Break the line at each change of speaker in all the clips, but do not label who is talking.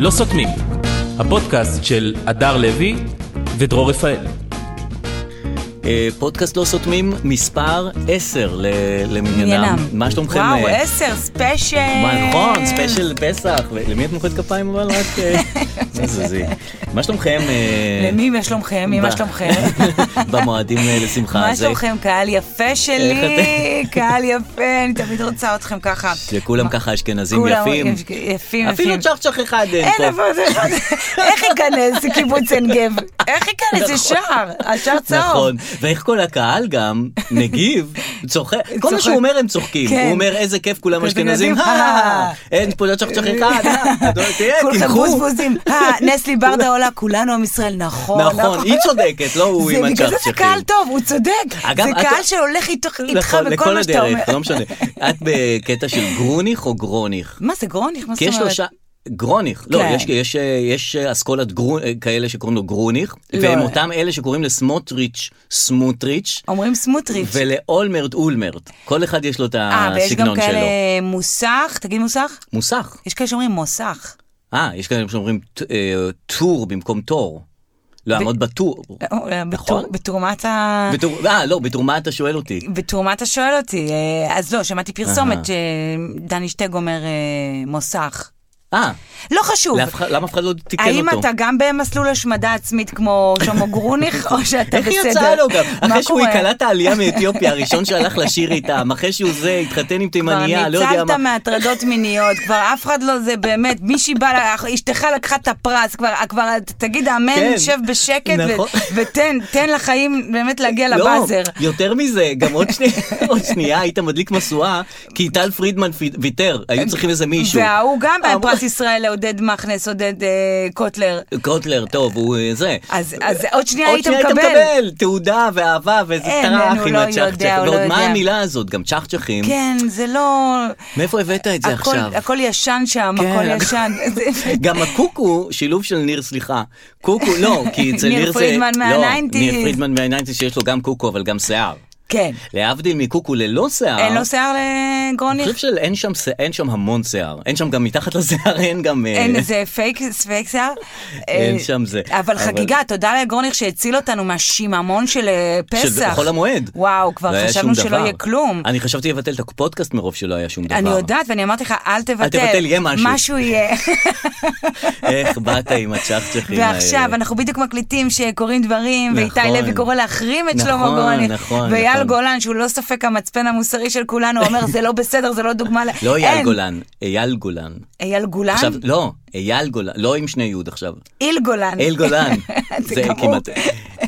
לא סותמים, הפודקאסט של הדר לוי ודרור רפאל.
אה, פודקאסט לא סותמים מספר 10 ל- למניינם.
עניינם.
מה שלומכם?
וואו,
אה,
עשר, ספיישל.
מה, נכון, ספיישל פסח. ו- למי את מוחאת כפיים אבל? רק... אה, זה זזי. מה שלומכם? אה,
למי, מה שלומכם? מי, מה
ב-
שלומכם?
במועדים אה, לשמחה.
מה
זה-
שלומכם, קהל יפה שלי,
איך
קהל יפה, אני תמיד רוצה אתכם ככה.
שכולם
מה-
ככה אשכנזים
כולם
יפים.
יפ- יפים,
אפילו
יפים.
צ'חצ'ח אחד אה, אין
אין
פה.
אבל זה אחד, איך ייכנס קיבוץ עין גב? איך ייכנס? זה שער, השער צהוב.
נכון, ואיך כל הקהל גם מגיב, צוחק, כל מה
צוחק.
שהוא אומר הם צוחקים,
כן.
הוא אומר איזה כיף כולם
כזה
אשכנזים,
גנבים,
"הא,
אה."
אין פה לא צ'חצ'ח אחד, אה, תראה,
כולכם
תמחו,
בוזבוזים. אה, נסלי ברדה עולה, כולנו עם ישראל, נכון.
נכון, היא צודקת, לא הוא
זה
עם
בגלל זה זה
הצ'חצ'חים.
קהל טוב, הוא צודק.
אגב,
זה
את-
קהל שהולך איתו- איתך
נכון,
בכל
לכל
מה שאתה אומר.
הדרך, לא משנה. את בקטע של גרוניך או גרוניך?
מה זה גרוניך? מה
כי
זאת
יש
אומרת?
שלושה... גרוניך, לא,
כן.
יש, יש, יש אסכולת גרו, כאלה שקוראים לו גרוניך,
לא.
והם אותם אלה שקוראים לסמוטריץ' סמוטריץ',
אומרים סמוטריץ'.
ולאולמרט אולמרט. כל אחד יש לו את
אה, ויש גם
הסגנון שלו.
כאלה מוסך, תגיד מוסך?
מוסך.
יש כאלה שאומרים מוסך.
אה, יש כאלה שאומרים ט- אה, טור במקום תור. לעמוד בטור.
לא, לא,
נכון.
בתור- בתרומת ה...
בטור- אה, לא, בתור מה אתה שואל אותי?
בתור מה אתה שואל אותי? אה, אז לא, שמעתי פרסומת
אהה.
שדני שטג אומר אה, מוסך.
אה,
לא חשוב.
לאף אחד- למה אף אחד לא תיקן אותו?
האם אתה גם במסלול השמדה עצמית כמו שלמה גרוניך, או שאתה
איך
בסדר?
יצא לו גם?
מה
אחרי שהוא
קורה?
קלע את העלייה מאתיופיה, הראשון שהלך לשיר איתם, אחרי שהוא זה, התחתן עם תימניה, לא
כבר
יודע
ניצלת
מה.
מהטרדות מיניות, כבר אף אחד לא זה באמת, מישהי באה, לה- אשתך לקחה את הפרס, כבר, כבר תגיד
כן,
אמן, שב בשקט, ו-
נכון.
ותן, תן לחיים באמת להגיע
לא,
לבאזר.
יותר מזה, גם עוד שני- עוד שנייה היית מדליק משואה, כי טל פרידמן פי- ויתר, היו צריכים איזה מישהו. אה,
וההוא גם
אמרו-
פרס ישראל לעודד מכנס, עודד אה, קוטלר.
קוטלר, טוב, הוא אה, זה.
אז אז עוד שנייה
עוד
היית
שנייה היית
מקבל.
מקבל תעודה ואהבה ואיזה
אין,
טראח
אין, הוא
עם
לא
הצ'חצ'ח.
יודע, הוא לא
ועוד מה
יודע.
המילה הזאת? גם צ'חצ'חים.
כן, זה לא...
מאיפה הבאת את זה
הכל-
עכשיו?
הכל ישן שם,
כן,
הכל
הכל-
ישן. זה-
גם הקוקו, שילוב של ניר, סליחה. קוקו, לא, כי אצל
ניר
ניר זה...
פרידמן
לא,
מהניינטיז.
ניר פרידמן מהניינטיז שיש לו גם קוקו, אבל גם שיער.
כן.
להבדיל מקוקו ללא שיער.
אין לו שיער
אני
לגרוניך?
חושב שאין שם, ש- אין שם המון שיער. אין שם גם מתחת לשיער, אין גם... אה,
אין איזה פייק, פייק שיער.
אין
אה,
שם זה.
אבל
אבל-
חגיגה, תודה לגורניך שהציל אותנו מהשיממון של אה,
של
פסח.
חול המועד.
וואו, כבר
לא היה
חשבנו
שום
שלא
דבר.
יהיה כלום.
אני חשבתי לבטל את הפודקאסט מרוב שלא היה שום דבר.
אני יודעת, ואני אמרתי לך, אל תבטל.
תבטל, יהיה משהו.
משהו יהיה.
איך באת עם הצ'חצ'חים האלה.
ועכשיו, אנחנו בדיוק מקליטים שקורים דברים, ואיתי
נכון.
לוי קורא להחרים את
נכון,
שלמה גורניך.
נכון,
ואייל
נכון.
גולן, שהוא לא ספק המצפן המוסרי של כולנו, אומר, זה לא בסדר, זה לא דוגמה ל...
לא אייל
אין.
גולן, אייל גולן.
אייל גולן?
עכשיו, לא, אייל גולן, לא עם שני יוד עכשיו.
איל גולן.
אייל גולן.
זה
זה
גמור.
כמעט,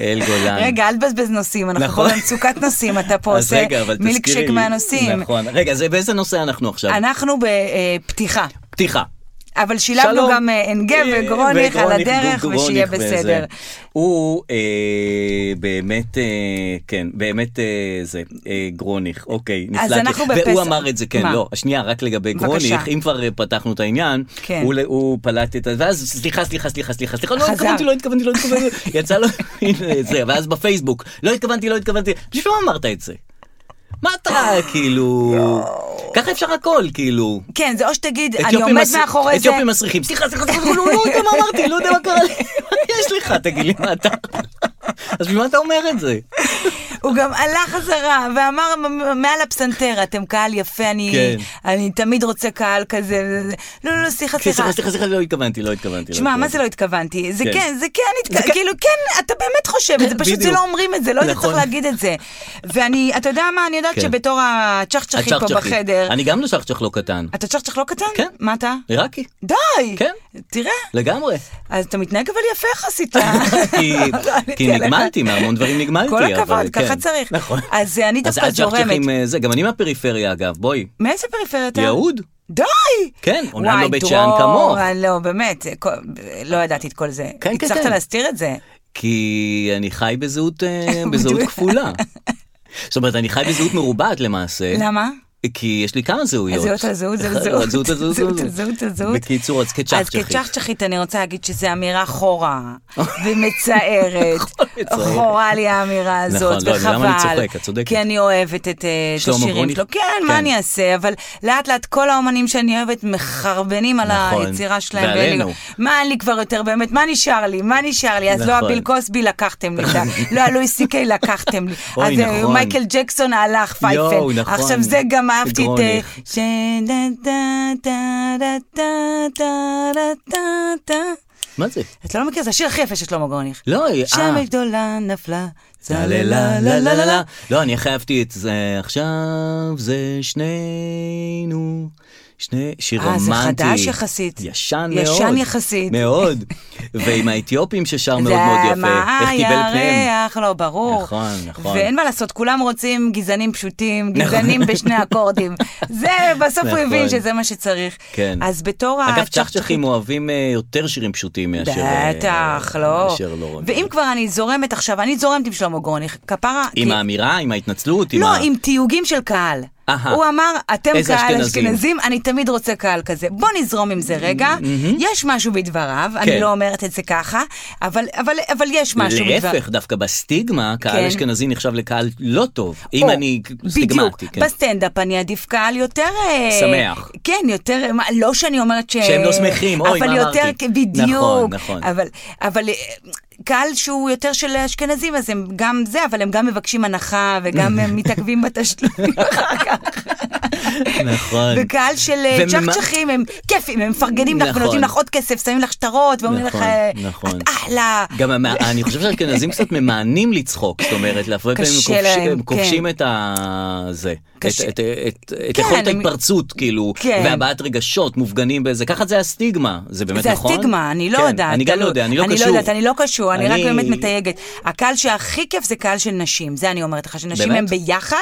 אייל גולן.
רגע, אל תבזבז נוסעים, אנחנו
נכון.
פה במצוקת נוסעים, אתה פה
אז
עושה
רגע, אבל תזכירי.
מילקשק מהנוסעים.
נכון. רגע, אז באיזה נושא אנחנו עכשיו?
אנחנו בפתיחה,
פתיחה.
אבל שילבנו
שלום.
גם אה, עין גב
אה,
וגרוניך על
וגרוניך,
הדרך,
גרוניך
ושיהיה
וזה.
בסדר.
הוא אה, באמת, אה, כן, באמת אה, זה, אה, גרוניך, אוקיי, נפלט.
אז
לי.
אנחנו
והוא
בפסח-
אמר את זה, כן,
מה?
לא, שנייה, רק לגבי
בבקשה.
גרוניך, אם כבר אה, פתחנו את העניין,
כן.
הוא ל- הוא פלט את ה... ואז, סליחה, סליחה, סליחה, סליחה, סליחה, לא
חזר.
התכוונתי, לא התכוונתי, לא התכוונתי, יצא לו, הנה, זה, ואז בפייסבוק, לא התכוונתי, לא התכוונתי, בשביל מה אמרת את זה? מה אתה,
אה.
כאילו... ככה אפשר הכל, כאילו.
כן, זה או שתגיד, אני
אתיופים
עומד
מס-
מאחורי זה,
אתיופים מסריחים. סליחה, סליחה, סליחה, לא לא יודע מה אמרתי, לא יודע מה קרה לי. יש לך, תגיד לי מה אתה... אז בשביל מה אתה אומר את זה?
הוא גם עלה חזרה ואמר "מ- מעל הפסנתר, אתם קהל יפה, אני
כן.
אני תמיד רוצה קהל כזה, וזה- לא, לא, לא, סליחה,
סליחה,
סליחה.
סליחה, סליחה, לא התכוונתי, לא התכוונתי.
תשמע, מה
התכוונתי.
זה לא התכוונתי? זה
כן.
כן, זה כן, התכ-
זה כן.
כאילו, כן, אתה באמת חושב את זה, פשוט זה
בדיוק.
לא אומרים את זה, לא היית
נכון.
צריך להגיד את זה. ואני, אתה יודע מה, אני יודעת
כן.
שבתור הצ'חצ'חית פה
הצ'חצ'חית.
בחדר,
אני גם לא שחצ'ח לא קטן.
אתה צ'חצ'ח לא קטן?
כן.
מה אתה?
עיראקי,
די!
כן.
תראה,
לגמרי.
אז אתה מתנהג אבל יפה יחסית. לא, לה.
כי- כי
עליך.
נגמלתי, מהמון דברים נגמלתי.
כל
אבל
הכבוד, ככה
כן.
צריך.
נכון.
אז אה, אני
אז
דווקא זורמת.
הצ'חצ'חים, אה, זה, גם אני מהפריפריה אגב, בואי.
מאיזה פריפריה אתה?
יהוד.
די!
כן, אומנם לא
וואי,
בית
דרור,
שאן כמוך.
לא, באמת, זה כל- לא ידעתי את כל זה.
כן, כן,
הצלחת
כן.
להסתיר את זה.
כי אני חי בזהות, אה, בזהות
בדיוק.
כפולה. זאת אומרת, אני חי בזהות מרובעת למעשה.
למה?
כי יש לי כמה זהויות.
הזהות, הזהות, הזהות,
הזהות, הזהות, הזהות.
הזהות, הזהות.
בקיצור, אז
אז
כצ'חצ'חית.
כצ'חצ'חית אני רוצה להגיד שזו אמירה חורה ומצערת.
מצערת.
חורה לי האמירה
נכון,
הזאת,
לא, למה אני
וחבל.
צוחק? את צודקת.
כי אני אוהבת את אה, את
שלמה
השירים
גרוניך?
שלו. כן,
כן.
מה אני אעשה? אבל לאט לאט כל האומנים שאני אוהבת מחרבנים על
נכון,
היצירה שלהם. ואין לי-
ועלינו.
מה אין לי כבר יותר באמת? מה נשאר לי? מה נשאר לי? אז לא
נכון.
הביל קוסבי לקחתם לי, לא הלואי סי קיי לקחתם לי.
אוי,
אז אה,
נכון.
מייקל ג'קסון הלך,
יואו,
פייפן.
נכון.
עכשיו זה גם אהבתי את... אה,
גרוניך.
ש- דה, דה, דה, דה, דה, דה, דה, דה.
מה זה?
את לא מכיר, זה השיר הכי יפה של שלמה גרוניך.
לא, אה.
שמש גדולה נפלה,
לה לה לה לה לה לה לה. לא, אני חייבתי את זה עכשיו, זה שנינו. שני, שיר
אה, זה
רומנטי.
חדש יחסית.
ישן מאוד.
ישן יחסית.
מאוד. ועם האתיופים ששר מאוד
זה
מאוד יפה. איך קיבל פניהם.
מהירח, לא, ברור.
נכון, נכון.
ואין מה לעשות, כולם רוצים גזענים פשוטים, גזענים בשני אקורדים. זה, בסוף הוא
נכון.
הבין שזה מה שצריך.
כן.
אז בתור
אגב,
הצ'חצ'חית-
צ'חצ'חים אוהבים אה, יותר שירים פשוטים מאשר... אה,
בטח, לא.
מאשר לא.
ואם כבר אני זורמת עכשיו, אני זורמת עם שלמה גרוניך, כפרה...
עם
כי-
האמירה, עם ההתנצלות, עם
לא,
ה...
עם תיוגים של קהל.
אהה.
הוא אמר, אתם
איזה
קהל
אשכנזים."
אשכנזים, אני תמיד רוצה קהל כזה. בוא נזרום עם זה רגע. יש משהו בדבריו, אני
כן.
לא אומרת את זה ככה, אבל אבל- אבל יש משהו בדבריו.
להפך, דווקא בסטיגמה,
כן.
קהל אשכנזי נחשב לקהל לא טוב. אם
או,
אני סטיגמטי,
בדיוק,
כן.
בסטנדאפ אני עדיף קהל יותר... אה,
שמח.
כן, יותר, מה, לא שאני אומרת ש...
שהם לא שמחים, אוי,
אבל
מה
יותר,
אמרתי?
כ- בדיוק.
נכון, נכון.
אבל, אבל אה, קהל שהוא יותר של אשכנזים, אז הם גם זה, אבל הם גם מבקשים הנחה, וגם הם מתעכבים בתשלומים אחר כך.
נכון.
וקהל של אה,
ומה-
צ'חצ'חים, הם כיפים, הם מפרגנים לך
נכון.
ונותנים לך עוד כסף, שמים לך שטרות, ואומרים לך,
נכון,
אה,
נכון.
את אחלה.
גם המ- אני חושב שהאשכנזים קצת ממאנים לצחוק, זאת אומרת, להפריע פעמים הם
קשה
כובשים-
להם,
הם
כן.
כובשים את ה... זה. את-
קשה.
את- את- את
כן,
יכולת
הם-
ההתפרצות, כאילו,
כן.
והבעת רגשות, מופגנים באיזה, ככה זה הסטיגמה, זה באמת
זה
נכון?
הסטיגמה, אני לא
כן,
יודעת.
אני גם לא
תלוי.
יודע, אני לא קשור.
אני לא יודעת, אני לא קשור, אני רק
אני-
באמת מתייגת. הקהל שהכי כיף זה קהל של נשים, זה אני אומרת לך, שנשים
באמת?
הם ביחד,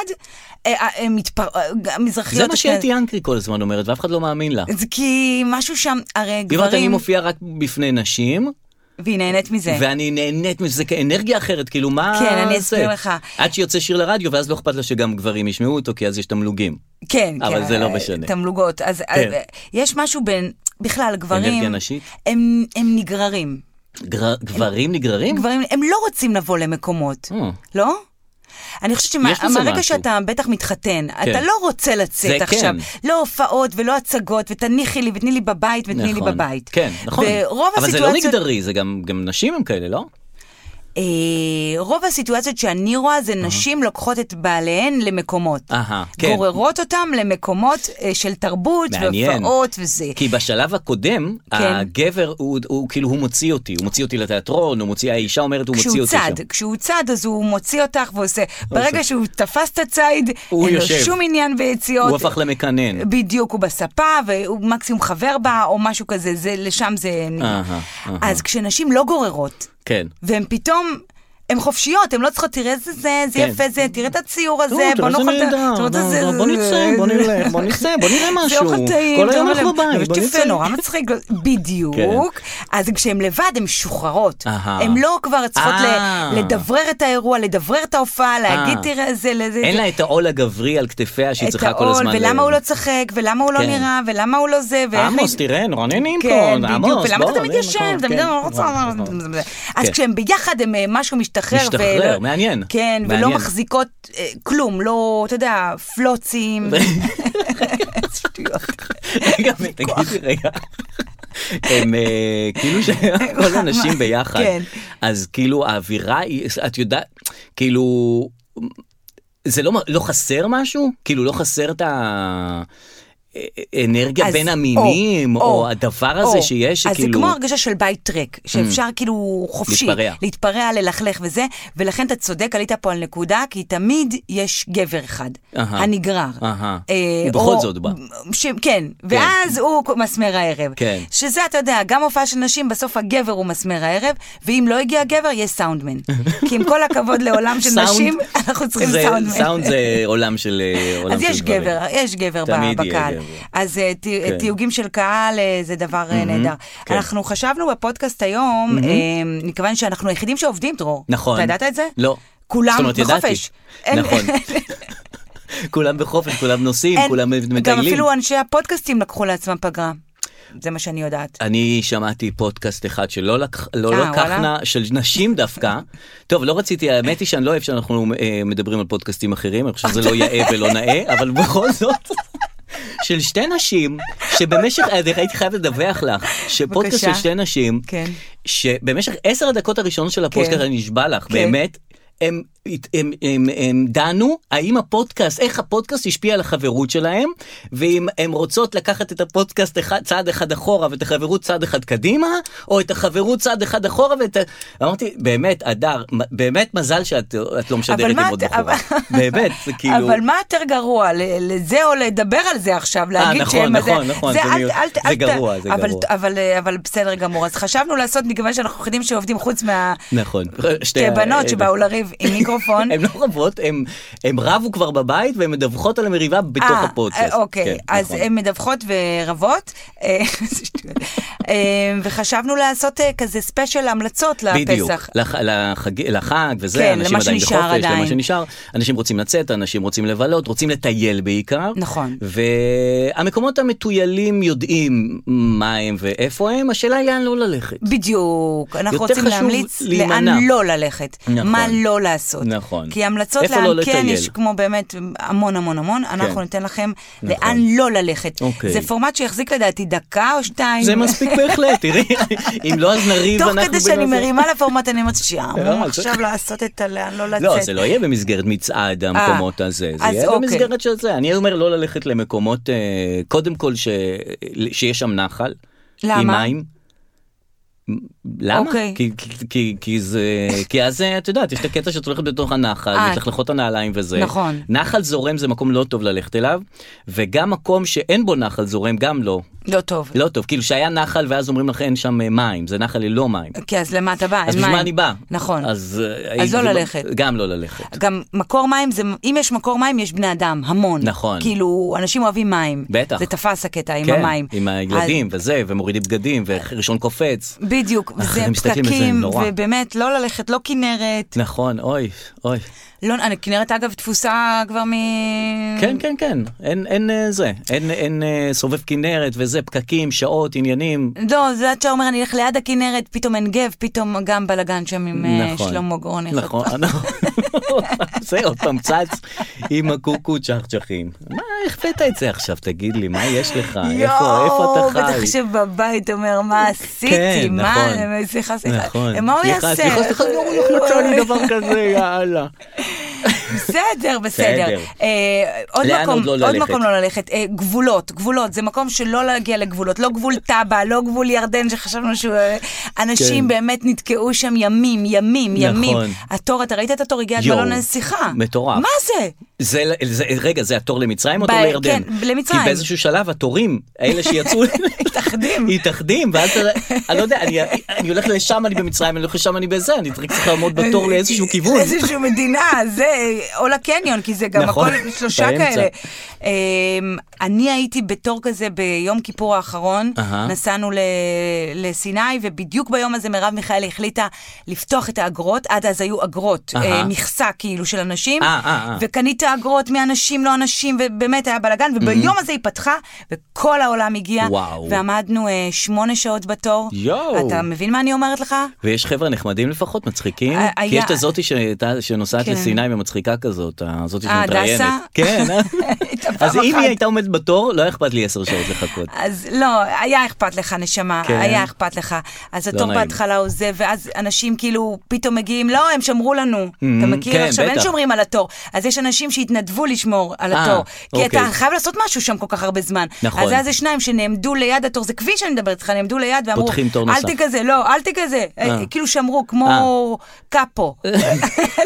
אה, אה, הם מתפר... אה, גם מזרחיות...
זה מה שאתי
אשכנז-
אנקרי כל הזמן אומרת, ואף אחד לא מאמין לה.
זה כי משהו שם, הרי
היא אומרת, אני
גברים,
מופיעה רק בפני נשים,
והיא נהנית מזה.
ואני נהנית מזה כאנרגיה אחרת, כאילו מה
כן, אני אסביר
זה?
לך.
עד שיוצא שיר לרדיו, ואז לא אכפת לה שגם גברים ישמעו אותו, כי אז יש תמלוגים.
כן, כן.
אבל זה לא
אה,
משנה.
תמלוגות. אז
כן.
אה, יש משהו בין, בכלל, גברים...
אנרגיה נשית?
הם הם נגררים.
גר- גברים נגררים?
גברים, הם לא רוצים לבוא למקומות,
אה.
לא? אני חושבת שמה-
יש בזה
מהרגע
משהו. כן.
שאתה בטח מתחתן, אתה לא רוצה לצאת
זה
עכשיו,
כן.
לא הופעות ולא הצגות, ותניחי לי ותני לי בבית ותני לי
נכון.
בבית.
כן, נכון.
ורוב
אבל זה לא
הסיטואציות-
מגדרי, זה גם גם נשים הם כאלה, לא?
אה, רוב הסיטואציות שאני רואה זה נשים לוקחות את בעליהן למקומות.
אהה, כן.
גוררות אותם למקומות אה, של תרבות,
מעניין.
והופעות וזה.
כי בשלב הקודם,
כן.
הגבר הוא- הוא כאילו, הוא מוציא אותי, הוא מוציא אותי לתיאטרון, הוא מוציא, האישה אומרת, הוא מוציא
כשהוא
אותי
צד,
שם.
כשהוא צד אז הוא מוציא אותך ועושה, ברגע שהוא תפס את הציד,
הוא
אין לו
יושב.
שום עניין ביציאות.
הוא הפך למקנן.
בדיוק, הוא בספה, והוא מקסימום חבר בה, או משהו כזה, זה, לשם זה... נגמר.
אהה, אהה.
אז כשנשים לא גוררות,
כן.
והן פתאום... הן חופשיות, הן לא צריכות, תראה איזה זה, זה
כן.
יפה זה, תראה את הציור הזה,
לא,
בוא
תראה איזה
נאכל את ה-
נהדר, לא,
תראה את זה-
בוא- בוא נצא, בוא נלך, בוא נצא, בוא נראה
זה
משהו.
אוכל טעים,
כל היום
תראה
אנחנו
להם.
בבית, בוא
יפה,
נצא. כן.
נורא מצחיק, בדיוק. אז כשהן לבד, הן משוחררות.
אהה.
הן לא כבר צריכות ל-
אה.
לדברר את האירוע, לדברר את ההופעה, להגיד תראה זה, לזה.
אין לה את העול הגברי על כתפיה שהיא צריכה כל הזמן...
את העול, ולמה
ל-
הוא לא צחק, ולמה הוא לא
כן.
נראה, ולמה הוא לא זה, ואיך...
עמוס,
היא-
תראה, נורא נהנים פה,
כן,
עמוס,
בדיוק, ולמה
בוא,
אתה תמיד
נהנה
ישן,
מקום,
תמיד
כן,
אני לא רוצה...
נכון, נכון.
אז
כן.
כשהם ביחד הם אה, משהו משתחרר.
משתחרר,
ולא-
מעניין.
כן, ולא
מעניין.
מחזיקות אה, כלום, לא, אתה יודע, פלוצים. שטויות.
רגע, תגידי רגע. הם אה, כאילו שכל הנשים ביחד,
כן.
אז כאילו האווירה היא, את יודעת, כאילו, זה לא, לא חסר משהו? כאילו לא חסר את האנרגיה
אז-
בין המינים, או, הדבר הזה
או.
שיש, כאילו,
אז
שכאילו, Mm.
זה כמו הרגשה של בית טרק, שאפשר כאילו חופשי.
להתפרע.
להתפרע, ללכלך וזה, ולכן אתה צודק, עלית פה על נקודה, כי תמיד יש גבר אחד,
אהה.
הנגרר.
אהה.
אה,
הוא בכל זאת בא.
ש... כן, ואז הוא מסמר הערב.
כן.
שזה, אתה יודע, גם הופעה של נשים, בסוף הגבר הוא מסמר הערב, ואם לא הגיע גבר, יש סאונדמן. כי עם כל הכבוד לעולם של
סאונד-
נשים, אנחנו צריכים
זה-
סאונדמן.
סאונד זה עולם של אה, עולם
אז
של
יש
דברים.
גבר, יש גבר ב-
תמיד יהיה
בקהל.
גבר.
אז אה, ת- תיוגים של קהל אה, זה דבר אה, נהדר.
כן.
אנחנו חשבנו בפודקאסט היום, אה, מכיוון שאנחנו היחידים שעובדים, דרור.
נכון.
אתה ידעת את זה?
לא.
כולם
זאת אומרת, ידעתי.
בחופש. אין-
נכון. כולם בחופש, כולם נוסעים,
אין-
כולם
גם
מטיילים.
אפילו אנשי הפודקאסטים לקחו לעצמם פגרה. זה מה שאני יודעת.
אני שמעתי פודקאסט אחד שלא לקח, לא
אה,
לקחנה,
וואלה?
של נשים דווקא. טוב, לא רציתי, האמת היא שאני לא אוהב שאנחנו אה, מדברים על פודקאסטים אחרים, אני חושב שזה לא יאה ולא נאה, אבל בכל זאת, של שתי נשים, שבמשך, אה, דרך- הייתי חייב לדווח לך, שפודקאסט של
בבקשה.
שתי נשים,
כן.
שבמשך עשר הדקות הראשונות של הפודקאסט,
כן.
אני נשבע לך,
כן.
באמת. הם, הם, הם, הם דנו האם הפודקאסט, איך הפודקאסט השפיע על החברות שלהם, ואם הן רוצות לקחת את הפודקאסט אחד, צעד אחד אחורה ואת החברות צעד אחד קדימה, או את החברות צעד אחד אחורה ואת ה... אמרתי, באמת, אדר, מ- באמת מזל שאת את לא
אבל
משדרת
מה
עם עוד
את-
בחורה.
אבל-
באמת, זה כאילו...
אבל מה יותר גרוע, ל- לזה או לדבר על זה עכשיו, להגיד
נכון,
שהם...
נכון, נכון, זה
אל-
מיעוט.
אל-
זה
אל ת-
גרוע, זה
אבל-
גרוע.
אבל אה, אבל בסדר גמור, אז חשבנו לעשות, מכיוון שאנחנו היחידים שעובדים חוץ מה...
נכון. שתי
שתי
ה-
בנות שבאו לריב עם מיקרופון.
הן לא רבות, הן- הן רבו כבר בבית והן מדווחות על המריבה בתוך
אה,
הפודקאסט.
אה, אוקיי,
כן,
אז
נכון.
הן מדווחות ורבות, אה, זה שטויות. אה, וחשבנו לעשות אה, כזה ספיישל המלצות
בדיוק,
לפסח.
לח, לחג, לחג וזה,
כן,
אנשים
למה
עדיין בחופש,
שנשאר
למה
עדיין.
שנשאר, אנשים רוצים לצאת, אנשים רוצים לבלות, רוצים לטייל בעיקר.
נכון.
והמקומות המטוילים יודעים מה הם ואיפה הם, השאלה היא לאן לא ללכת.
בדיוק, אנחנו
יותר
רוצים
חשוב
להמליץ
להימנע.
לאן לא ללכת,
נכון.
מה לא לעשות.
נכון.
כי המלצות
איפה
לאן
לא
כן
לטייל. כן.
יש, כמו באמת המון המון המון, אנחנו ניתן לכם לאן לא ללכת.
נכון. אוקיי.
זה פורמט שיחזיק לדעתי דקה או שתיים.
זה מספיק בהחלט, תראי, אם לא אז נריב
תוך
אנחנו
כדי שאני
בנושא.
מרימה לפורמט אני אומרת שיאמרו
לא, זה-
עכשיו לעשות את הלאן לא לצאת. אה,
לא, זה לא יהיה במסגרת מצעד המקומות הזה, זה
אז
יהיה
אוקיי.
במסגרת של זה. אני אומר לא ללכת למקומות, אה, קודם כל ש- שיש שם נחל.
למה?
עם מים. למה?
אוקיי.
כי, כי- כי, כי זה, כי אז אה, את יודעת, יש את הקטע שאת הולכת בתוך הנחל,
אה.
מתלכלכות הנעליים וזה.
נכון.
נחל זורם זה מקום לא טוב ללכת אליו, וגם מקום שאין בו נחל זורם גם לא.
לא טוב.
לא טוב, כאילו שהיה נחל ואז אומרים לך אין שם אה, מים, זה נחל ללא מים.
כי כן, אז למה אתה בא? אה, אין
אז בשביל
מים.
מה אני בא?
נכון.
אז, אה,
אז
הייתי-
לא ללכת.
גם לא ללכת.
גם מקור מים, זה, אם יש מקור מים, יש בני אדם, המון.
נכון.
כאילו, אנשים אוהבים מים.
בטח.
זה תפס הקטע עם
כן,
המים.
עם הילדים וזה, ומורידים בגדים, וראשון קופץ.
אז, בדיוק,
אך,
זה
הם מסתכלים, זה
פקקים,
נורא.
ובאמת, לא ללכת, לא כנרת.
נכון, אוי, אוי.
לא, אני- כנרת, אגב, תפוסה כבר מ...
כן, כן, כן, אין, אין אה, זה, אין, אין אה, סובב כנרת וזה, פקקים, שעות, עניינים.
לא, זה עד שאתה אומר, אני אלך ליד הכנרת, פתאום עין גב, פתאום גם בלאגן שם עם אה,
נכון.
שלמה גרוניך.
נכון, נכון. זה עוד פעם צץ עם הקוקו צ'חצ'חים. מה, איך הבאת את זה עכשיו? תגיד לי, מה יש לך? אה, איפה, איפה אתה
בטח
חי?
יושב בבית, אומר, מה עשיתי?
כן,
מה, אה,
נכון.
סליחה, סליחה.
נכון.
מה הוא
סליחה,
יעשה?
סליחה, סליחה, נו, איך מצא לי דבר כזה, יאללה.
בסדר, בסדר.
בסדר.
אה, עוד
לאן
מקום-
עוד לא
עוד
ללכת?
מקום לא ללכת. אה, גבולות, גבולות, זה מקום שלא להגיע לגבולות. לא גבול טאבה, לא גבול ירדן שחשבנו שהוא... אה, אנשים
כן.
באמת נתקעו שם ימים, ימים, ימים.
נכון.
התור, אתה ראית את התור? הגיע עד
יואו,
מלון הנסיכה.
מטורף.
מה זה?
זה, זה, רגע, זה התור למצרים או
ב-
תור לירדן?
כן, למצרים.
כי באיזשהו שלב התורים, האלה שיצאו...
התאחדים.
התאחדים, ואז אתה- אני לא יודע, אני, אני הולך לשם, אני במצרים, אני הולך לשם, אני בזה, אני צריך צריך לעמוד
אה,
בתור לאיזשהו כיוון.
איזשהו מדינה, זה, או לקניון, כי זה גם
נכון,
הכל שלושה
באמצע.
כאלה. אמ, אני הייתי בתור כזה ביום כיפור האחרון,
אהה.
נסענו ל- לסיני, ובדיוק ביום הזה מרב מיכאלי החליטה לפתוח את האגרות, עד אז היו אגרות,
אהה.
אה, מכסה כאילו של אנשים,
אה, אה, אה.
וקנית אגרות מאנשים לא אנשים, ובאמת היה בלאגן, וביום הזה היא פתחה, וכל העולם הגיע,
וואו.
ועמדנו אה, שמונה שעות בתור.
יואו.
אתה מבין מה אני אומרת לך?
ויש חבר'ה נחמדים לפחות, מצחיקים,
ה-
כי
היה-
יש את הזאתי שהייתה- שנוסעת
אה, כן.
לסיני ומצחיקה כזאת, הזאתי
אה,
שמתראיינת.
הדסה?
כן, אה.
הייתה פעם
אז אם
אחת.
היא הייתה עומדת בתור, לא היה אכפת לי עשר שעות לחכות.
אז לא, היה אכפת לך, נשמה,
כן. לא
כן. היה אכפת לך. אז התור
נעים.
בהתחלה עוזב, ואז אנשים כאילו פתאום מגיעים, לא, הם שמרו לנו. אתה מכיר?
כן,
עכשיו
בטח.
אין שומרים על התור. אז יש אנשים שהתנדבו לשמור על
אה,
התור. כי
אוקיי.
אתה חייב לעשות משהו שם כל כך הרבה זמן.
נכון.
אז היה איזה שניים שנעמדו ליד התור, זה כביש אני מדברת איתך, נעמדו ליד ואמרו,
פותחים תור נוסף."
אל תגזה, לא, אל תגזה. אה, כאילו שמרו,
אה.
כמו קאפו. אני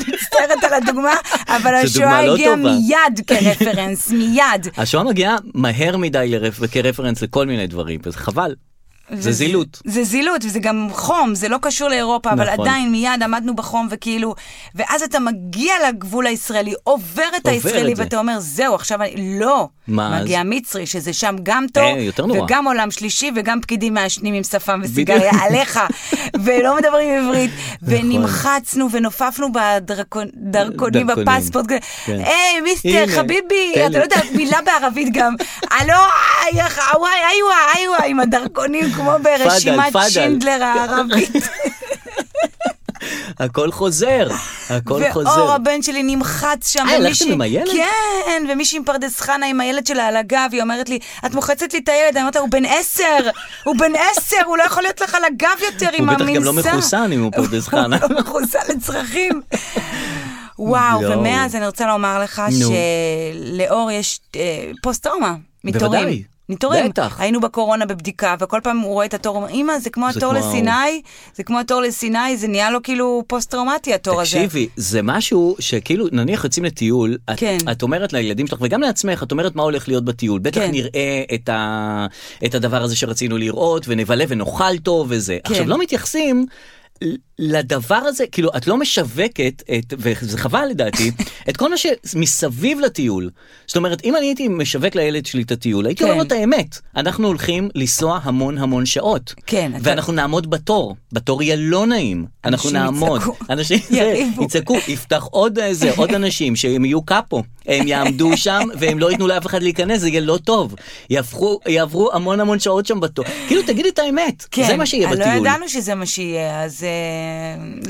מצטערת על הדוגמה, אבל
זו דוגמה
השואה
לא
הגיעה
טובה.
מיד כרפרנס, מיד.
השואה מגיעה מהר מדי לרפ- כרפרנס לכל מיני דברים, וזה חבל. זה זילות.
זה זילות, וזה גם חום, זה לא קשור לאירופה, אבל
נכון.
עדיין מיד עמדנו בחום וכאילו, ואז אתה מגיע לגבול הישראלי, עובר את הישראלי,
את זה.
ואתה אומר, זהו, עכשיו אני, לא.
מה אז?
מגיע מצרי, שזה שם גם טוב,
אה, יותר נורא.
וגם עולם שלישי, וגם פקידים מעשנים עם שפם וסיגריה עליך, ולא מדברים עברית, ונמחצנו ונופפנו בדרכונים,
נכון. דרכונים.
בפספורט,
כן.
היי, מיסטר,
הנה,
חביבי,
תן
אתה
לי.
לא יודע מילה בערבית גם. הלו, אייך, וואי, איווה, איווה, עם הדרכונים כמו ברשימת
פאדל. כן.
שינדלר הערבית.
הכל חוזר, הכל
ואור
חוזר.
הבן שלי נמחץ שם.
אה, הלכתם
ומישהי-
עם הילד?
כן, ומישהי עם פרדס חנה עם הילד שלה על הגב, היא אומרת לי, את מוחצת לי את הילד, אני אומרת לה, הוא בן עשר, הוא בן עשר, הוא לא יכול להיות לך על הגב יותר עם
הוא
המנזר.
בטח גם לא מחוסן אם הוא פרדס חנה.
הוא לא מחוסן לצרכים. וואו,
יואו.
ומאז אני רוצה לומר לך
נו.
שלאור יש אה, פוסט-טראומה, מתורים.
בוודאי.
מתורים.
בטח.
היינו בקורונה בבדיקה, וכל פעם הוא רואה את התור, הוא אומר, אמא, זה כמו
זה
התור
כמו-
לסיני, זה כמו התור לסיני, זה נהיה לו כאילו פוסט-טראומטי התור הזה.
תקשיבי, זה משהו שכאילו, נניח יוצאים לטיול, את,
כן.
את אומרת לילדים שלך וגם לעצמך, את אומרת מה הולך להיות בטיול. בטח
כן.
נראה את, ה, את הדבר הזה שרצינו לראות, ונבלה ונאכל טוב וזה.
כן.
עכשיו, לא מתייחסים... ל- לדבר הזה, כאילו, את לא משווקת, את, וזה חבל לדעתי, את כל מה שמסביב לטיול. זאת אומרת, אם אני הייתי משווק לילד שלי את הטיול, הייתי
כן.
אומר לו את האמת. אנחנו הולכים לנסוע המון המון שעות.
כן, אתה-
ואנחנו נעמוד בתור. בתור יהיה לא נעים. אנחנו
אנשים
נעמוד.
יצעקו.
אנשים
יריבו.
יצעקו. יצעקו, יפתח עוד איזה, עוד אנשים שהם יהיו קאפו, הם יעמדו שם והם לא ייתנו לאף אחד להיכנס, זה יהיה לא טוב. יהפכו, יעברו המון המון שעות שם בתור. כאילו, תגידי את האמת,
כן,
זה מה שיהיה
אה,
בטיול.
לא ידענו שזה מה שיהיה, אז אה,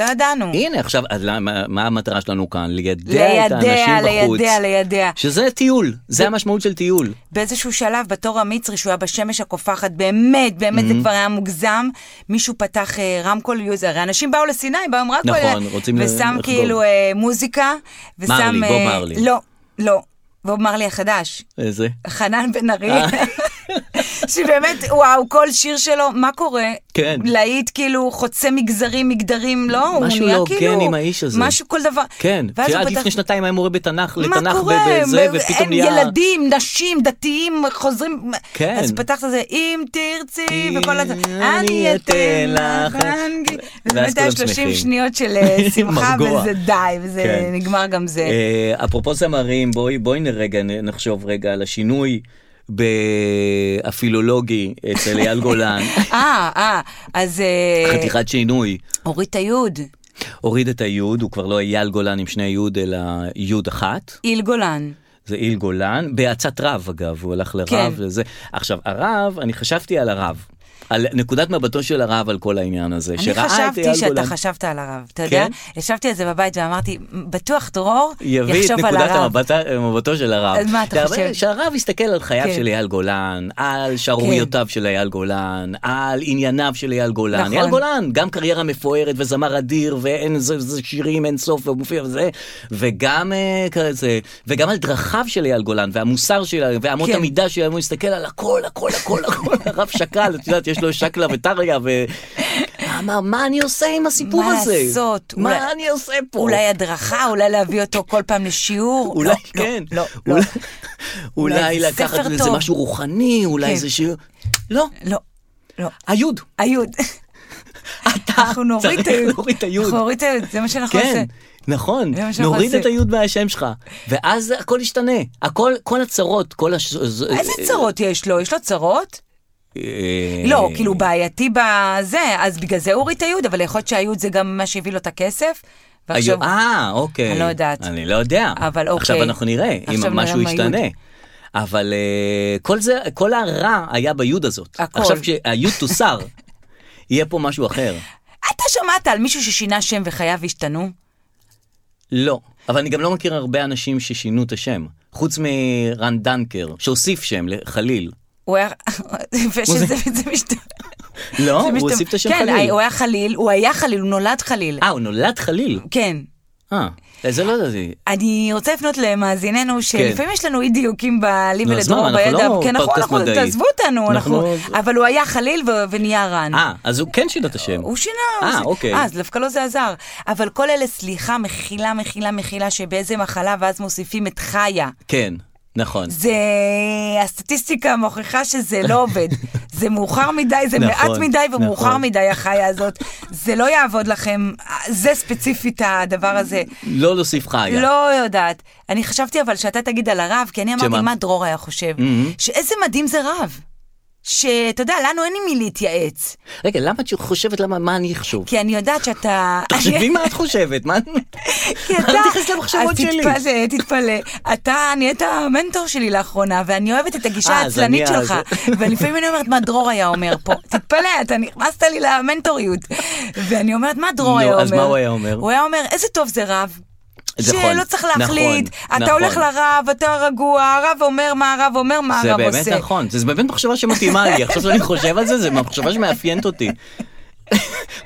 לא ידענו.
הנה עכשיו, אז למה- מה המטרה שלנו כאן? לידע את האנשים
לידע,
בחוץ.
לידע, לידע.
שזה טיול, זה המשמעות של טיול.
באיזשהו שלב, בתור המצרי, שהוא היה בשמש הקופחת, באמת, באמת
Mm-hmm.
זה כבר היה מוגזם, מישהו פתח אה, רמקול יוזר. הרי אנשים באו לסיני, באו עם רמקול,
נכון,
אה,
רוצים ל-
ושם
לחגוג.
כאילו אה, מוזיקה, ושם...
מרלי, בוב
אה,
מרלי.
לא, לא. בוב מרלי החדש.
איזה?
חנן בן ארי,
אה.
שבאמת, וואו, כל שיר שלו, מה קורה?
כן.
להיט כאילו חוצה מגזרים, מגדרים, לא? הוא
משהו
נהיה
לא
כאילו...
הוגן עם האיש הזה.
משהו, כל דבר.
כן,
ואז הוא
שעד
פתח-
לפני שנתיים היה מורה בתנ"ך, לתנ"ך
מה קורה?
בזה,
מה-
ופתאום
הם
נהיה...
ילדים, נשים, דתיים, חוזרים...
כן.
אז פתחת את זה, אם תרצי, וכל הזה,
אני
אני אתן לך...
אנגי." ואז
ובאמת
כולם
היה 30
שמחים.
שניות של אה, שמחה,
מרגוע.
וזה די, וזה
כן.
נגמר גם זה.
אה, אפרופו זמרים, בואי בואי נרגע נ- נחשוב רגע על השינוי בפילולוגי אצל אייל גולן,
אה, אה, אז אה,
חתיכת שינוי.
אורית היוד,
הוריד את היוד, הוא כבר לא אייל גולן עם שני יוד, אלא יוד אחת.
איל גולן.
זה איל גולן, בעצת רב אגב, הוא הלך לרב
כן.
וזה. עכשיו, הרב, אני חשבתי על הרב, על נקודת מבטו של הרב על כל העניין הזה,
אני
שראה את אייל גולן.
חשבתי שאתה חשבת על הרב, אתה יודע?
כן?
ישבתי על זה בבית ואמרתי, בטוח דרור
יביא את
יחשוב על
נקודת
הרב.
המבט, מבטו של הרב.
אז מה אתה
שהרב-
חושב?
שהרב יסתכל על חייו
כן.
של אייל גולן, על שערוריותיו של אייל גולן, על ענייניו של אייל גולן.
נכון.
אייל גולן, גם קריירה מפוארת וזמר אדיר, ואין זה זה שירים אין סוף ומופיע וזה, וגם אה, כזה, וגם על דרכיו של אייל גולן, והמוסר שלו, ואמות
כן.
המידה שלו, הוא מסתכל על הכל, הכל, הכל, הכל, הרב שקל, את יודעת, יש לו שקלה וטריה, ו... אמר, מה אני עושה עם הסיפור
מה
הזה?
לעשות? אולי-
מה אני עושה פה?
אולי הדרכה, אולי להביא אותו כל פעם לשיעור.
אולי
לא, לא,
כן,
לא, לא.
אולי-
אולי
אולי
זה
לקחת
ספר
איזה
טוב.
משהו רוחני,
כן.
אולי איזה שיר, לא,
לא, לא.
היוד,
היוד. אנחנו נוריד את
אה, צריך
היוד.
להוריד את היוד.
אנחנו נוריד את היוד, זה מה שאנחנו
כן,
נעשה.
נכון,
זה מה שאנחנו
נוריד
עושים.
את היוד מהשם שלך, ואז הכל ישתנה, הכל, כל הצרות, כל הש...
איזה צרות יש לו? יש לו צרות?
אה,
לא, כאילו בעייתי בזה, אז בגלל זה הוא הוריד את היוד, אבל יכול להיות שהיוד זה גם מה שהביא לו את הכסף. ועכשיו-
היוד- אה, אוקיי.
אני לא יודעת.
אני לא יודע.
אבל אוקיי.
עכשיו אנחנו נראה
עכשיו נראה
אם משהו
מה
ישתנה.
היוד.
אבל אה, כל זה, כל הרע היה ביוד הזאת.
הכל.
עכשיו כשהיוד תוסר, יהיה פה משהו אחר.
אתה שמעת על מישהו ששינה שם וחייו השתנו?
לא, אבל אני גם לא מכיר הרבה אנשים ששינו את השם, חוץ מרן דנקר, שהוסיף שם לחליל.
הוא היה... ושזה זה משת...
לא,
זה
הוא
משת-
הוסיף את השם
כן,
חליל.
הוא היה חליל, הוא היה חליל, הוא נולד חליל.
אה, הוא נולד חליל.
כן.
אה, זה לא ידעתי.
אני רוצה לפנות למאזיננו, שלפעמים יש לנו אי דיוקים בלי
נו, אז
ולדרור
מה, אנחנו
בידע,
כן. לא
כן, נכון,
פודקאסט
אנחנו,
מדעי.
תעזבו אותנו,
אנחנו- לא-
אנחנו- אבל הוא היה חליל ו- ונהיה רן.
אה, אז הוא כן שינה את השם.
הוא שינה,
אה,
הוא-
אוקיי.
אה, אז דווקא לא זה עזר. אבל כל אלה, סליחה, מחילה, מחילה, מחילה, שבאיזה מחלה, ואז מוסיפים את חיה.
כן, נכון.
זה, הסטטיסטיקה מוכיחה שזה לא עובד. זה מאוחר מדי, זה
נכון,
מעט מדי ומאוחר
נכון.
מדי החיה הזאת. זה לא יעבוד לכם, זה ספציפית הדבר הזה.
לא להוסיף חיה.
לא יודעת. אני חשבתי אבל שאתה תגיד על הרב, כי אני אמרתי
שמה? Mm-hmm.
מה דרור היה חושב. שאיזה מדהים זה רב. שאתה יודע, לנו אין עם מי להתייעץ.
רגע, למה את חושבת למה, מה אני אחשוב?
כי אני יודעת שאתה...
תחשבי מה את חושבת, מה...
כי
אל
אתה...
תכנס למחשבות
אז אה,
שלי.
תתפלא, תתפלא. אתה נהיית המנטור שלי לאחרונה, ואני אוהבת את הגישה
אה, אז
העצלנית
אני אז.
שלך. ולפעמים אני אומרת, מה דרור היה אומר פה? תתפלא, אתה נכנסת לי למנטוריות. ואני אומרת, מה דרור
נו,
היה אומר?
אז מה הוא היה אומר?
הוא היה אומר, איזה טוב זה רב.
נכון,
שלא צריך
נכון,
להחליט,
נכון.
אתה הולך לרב, אתה רגוע, הרב אומר מה הרב אומר, מה
זה
הרב
באמת
עושה.
נכון, זה באמת מחשבה שמתאימה לי, עכשיו שאני חושב על זה, זה מחשבה שמאפיינת אותי.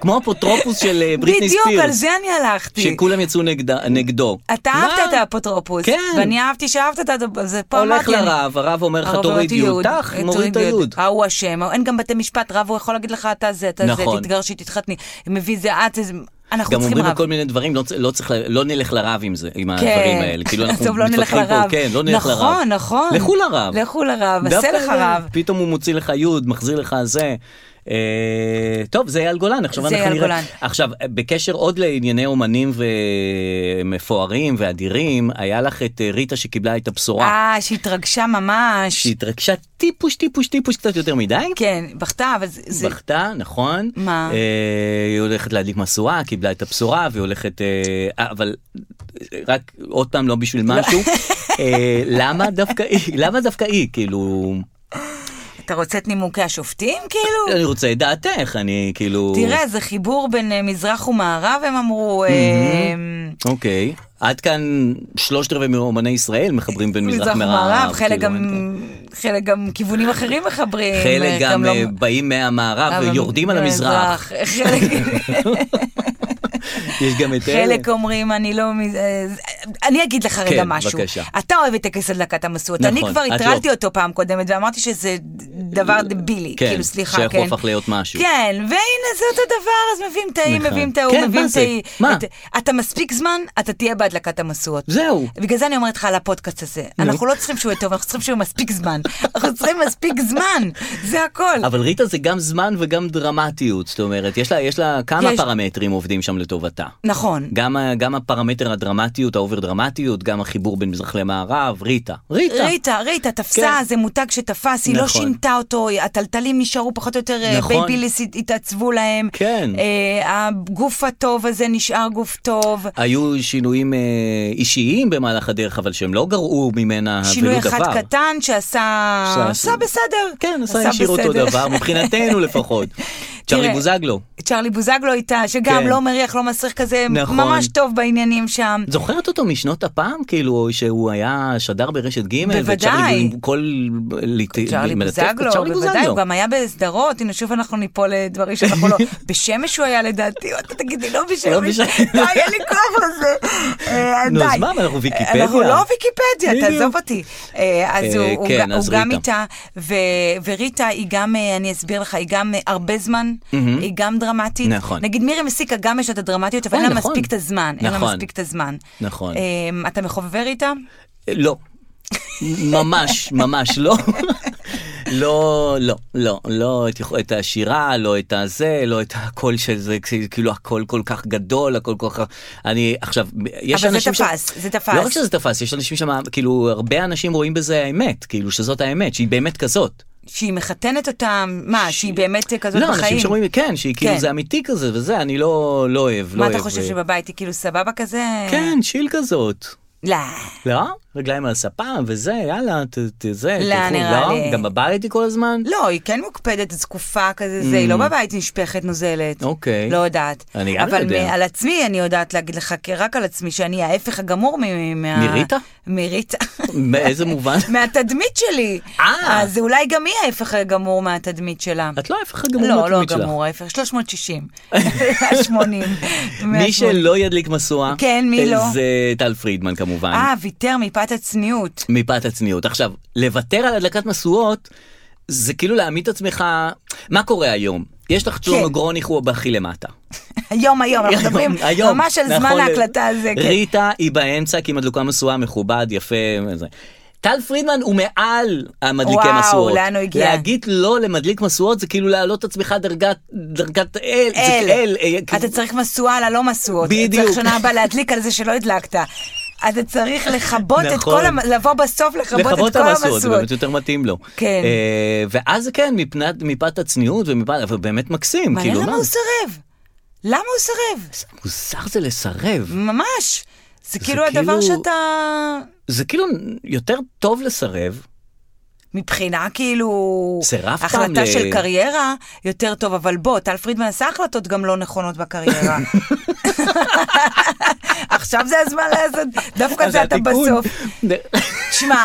כמו אפוטרופוס של אה, בריטני ספירס.
בדיוק, על זה אני הלכתי.
שכולם יצאו נגד- נגדו.
אתה
מה?
אהבת את האפוטרופוס,
כן.
ואני אהבתי שאהבת את האפוטרופוס, זה פה
הולך
אמרתי. אני-
לרב, הרב אומר לך
הרב אה,
תוריד
יוד,
יוד, תח, מוריד את היוד.
ההוא אשם, ההוא- אין גם בתי משפט, רב הוא יכול להגיד לך אתה זה, אתה זה,
נכון.
תתגרשי, תתחתני, מביא זה את, זה- אנחנו
גם
צריכים
אומרים
רב.
כל מיני דברים, לא צ- לא צריך, ל- לא נלך לרב עם זה, עם
כן.
הדברים האלה. כאילו אנחנו
טוב, לא נלך
מתווכחים פה,
לרב.
כן, לא נלך לרב.
נכון, נכון.
לכו לרב.
לכו לרב,
דווקא
עשה לך
זה,
רב.
פתאום הוא מוציא לך יוד, מחזיר לך זה. אה, טוב, זה אייל גולן, עכשיו
זה
אנחנו
אייל
נראה.
גולן.
עכשיו, אה, בקשר עוד לענייני אומנים ומפוארים ואדירים, היה לך את אה, ריטה שקיבלה את הבשורה.
אה, שהתרגשה ממש.
שהתרגשה טיפוש, טיפוש, טיפוש קצת יותר מדי.
כן, בכתה, אבל זה- זה...
בכתה, נכון.
מה?
אה, היא הולכת להדליק משואה, קיבלה את הבשורה, והיא הולכת... אה, אה, אבל אה, רק עוד פעם לא בשביל משהו. אה, למה דווקא היא? למה דווקא היא? כאילו,
אתה רוצה את נימוקי השופטים, כאילו?
אני רוצה את דעתך, אני כאילו...
תראה, זה חיבור בין אה, מזרח ומערב, הם אמרו. אה,
אוקיי. עד כאן שלושת רבעי מאומני ישראל מחברים בין מזרח ומערב.
אה, חלק
כאילו,
גם,
אין כאן.
חלק גם כיוונים אחרים מחברים.
חלק גם
לא-
אה, באים מהמערב
אבל- כן,
ויורדים על המזרח.
חלק-
יש גם את אלה.
חלק אומרים, אני לא... מ- אה, אני אגיד לך רגע
כן,
משהו.
בבקשה.
אתה אוהב את טקס הדלקת המשואות.
נכון,
אני כבר
את לא.
הטרלתי אותו פעם קודמת ואמרתי שזה דבר דבילי.
כן,
כאילו, סליחה, כן.
שהחוף הפך להיות משהו.
כן, והנה זה אותו דבר, אז מביאים את ההיא,
נכון.
מביאים את ההוא,
כן,
מביאים
מה
את
זה?
ההיא.
מה?
את- אתה מספיק זמן, אתה תהיה בהדלקת המשואות.
זהו.
בגלל זה אני אומרת לך על הפודקאסט הזה. אנחנו לא צריכים שהוא יהיה טוב, אנחנו צריכים שהוא יהיה מספיק זמן. אנחנו צריכים מספיק זמן, זה הכל.
אבל ריטה זה גם זמן וגם דרמטיות, זאת אומרת, יש לה, יש לה כמה יש...
יש.
פרמטרים עובדים שם לטובתה.
נכון.
גם, ה- גם הפרמטר הדרמטיות, האובר דרמטיות, גם החיבור בין מזרח למערב, ריטה. ריטה.
ריטה, ריטה תפסה,
כן.
זה מותג שתפס, היא לא
נכון.
שינתה אותו, הטלטלים נשארו פחות או יותר, אה,
נכון.
בייביליס הת- התעצבו להם.
כן.
אה, הגוף הטוב הזה נשאר גוף טוב.
היו שינויים אה, אישיים במהלך הדרך, אבל שהם לא גרעו ממנה
שינוי
ולו
אחד
דבר.
קטן שעשה...
עשה-
עשה בסדר.
כן, עשה ישיר אותו
בסדר.
דבר, מבחינתנו לפחות. צ'ארלי
תראה,
בוזגלו.
צ'רלי בוזגלו איתה, שגם
כן.
לא מריח, לא מסריח כזה,
נכון.
ממש טוב בעניינים שם.
זוכרת אותו משנות הפעם כאילו שהוא היה שדר ברשת ג'
בוודאי.
וצ'רלי בוזגלו, כל... ליט-
צ'רלי
מלטף-
בוזגלו,
צ'רלי
בוודאי,
בוזגלו.
הוא גם היה בסדרות, הנה שוב אנחנו ניפול לדברים שאנחנו לא... בשמש הוא היה לדעתי, אתה תגיד לי, לא
לא
בשמש,
בשמש.
לא היה לי כוח לזה. אה,
נו,
די.
אז מה, אבל אנחנו ויקיפדיה.
אנחנו לא ויקיפדיה,
בדיוק.
תעזוב אותי. אה, אז
אה,
הוא- הוא
כן,
ג-
אז
הוא גם
ריטה.
איתה, ו- וריטה היא גם, אה, אני אסביר לך, היא גם אה, הרבה זמן, היא גם דרמטית.
נכון.
נגיד מירי מסיקה גם יש לה את הדרמטיות, אבל אין לה
נכון.
מספיק את הזמן. אין לה
נכון.
מספיק את הזמן.
נכון.
אה, אתה מחובב ריטה?
לא. ממש, ממש לא. לא, לא, לא, לא את, יכו- את השירה, לא את הזה, לא את הקול של זה, כ- כאילו הקול כל כך גדול, הכל כל כך... אני עכשיו, יש
אבל זה
אנשים...
תפס, זה תפס.
לא רק שזה תפס, יש אנשים שם, כאילו, הרבה אנשים רואים בזה האמת, כאילו שזאת האמת, שהיא באמת כזאת.
שהיא מחתנת אותם, מה, שהיא באמת אה, כזאת
לא,
בחיים?
אנשים שאומרים, כן, שהיא כאילו
כן.
זה אמיתי כזה וזה, אני לא, לא אוהב, לא
מה
אוהב.
אתה חושב שבבית היא כאילו סבבה כזה?
כן, שיל כזאת.
לא.
לא? רגליים על הספה וזה, יאללה, ת, ת, זה,
לא,
תלכו,
נראה
לא?
לי.
גם בבית היא כל הזמן?
לא, היא כן מוקפדת, זקופה כזה, זה, היא לא בבית נשפכת, נוזלת.
Mm. אוקיי.
לא יודעת.
אני גם
אבל
יודע.
אבל על עצמי אני יודעת להגיד לך, כי רק על עצמי, שאני ההפך הגמור מ- מה...
מריטה?
מריטה.
באיזה מובן?
מהתדמית שלי.
אה.
אז אולי גם היא ההפך הגמור מהתדמית שלה.
את לא ההפך הגמור
לא, לא
מהתמיד שלך.
הגמור, ההפך, 360. 180.
מי שלא ידליק משואה,
כן, מי
אה,
לא?
זה טל פרידמן כמובן,
אה, ויתר מפאת הצניעות.
מפאת הצניעות. עכשיו, לוותר על הדלקת משואות, זה כאילו להעמיד את עצמך, מה קורה היום? יש
כן.
לך צ'ורנו גרוניך הוא בהכי למטה.
היום, היום, אנחנו מדברים
היום,
ממש על
נכון,
זמן
ל-
ההקלטה הזה. כן.
ריטה היא באמצע, כי מדלוקה משואה, מכובד, יפה. וזה. טל פרידמן הוא מעל המדליקי
וואו,
משואות.
לאן הוא הגיע?
להגיד לא למדליק משואות זה כאילו להעלות את עצמך דרגת, דרגת אל. זה
אל.
אל. אה,
אתה צריך משואה על הלא משואות.
בדיוק.
צריך שנה הבאה להדליק על זה שלא הדלקת. אתה צריך לכבות את
נכון.
כל, המ- לבוא בסוף לכבות את
לכבות
כל
המסורת, זה
המשואות.
באמת יותר מתאים לו.
כן.
אה, ואז כן, מפנת, מפאת הצניעות ומפאת, אבל באמת מקסים,
מעניין
כאילו,
למה
מה?
הוא סירב. למה הוא סירב?
מוזר זה לסרב.
ממש. זה כאילו
כאילו-
הדבר שאתה...
זה כאילו יותר טוב לסרב,
מבחינה כאילו,
סירבת פעם ל-
החלטה של קריירה, יותר טוב, אבל בוא, טל פרידמן עשה החלטות גם לא נכונות בקריירה. עכשיו זה הזמן לעשות, דווקא זה אתה
התיקון.
בסוף. שמע,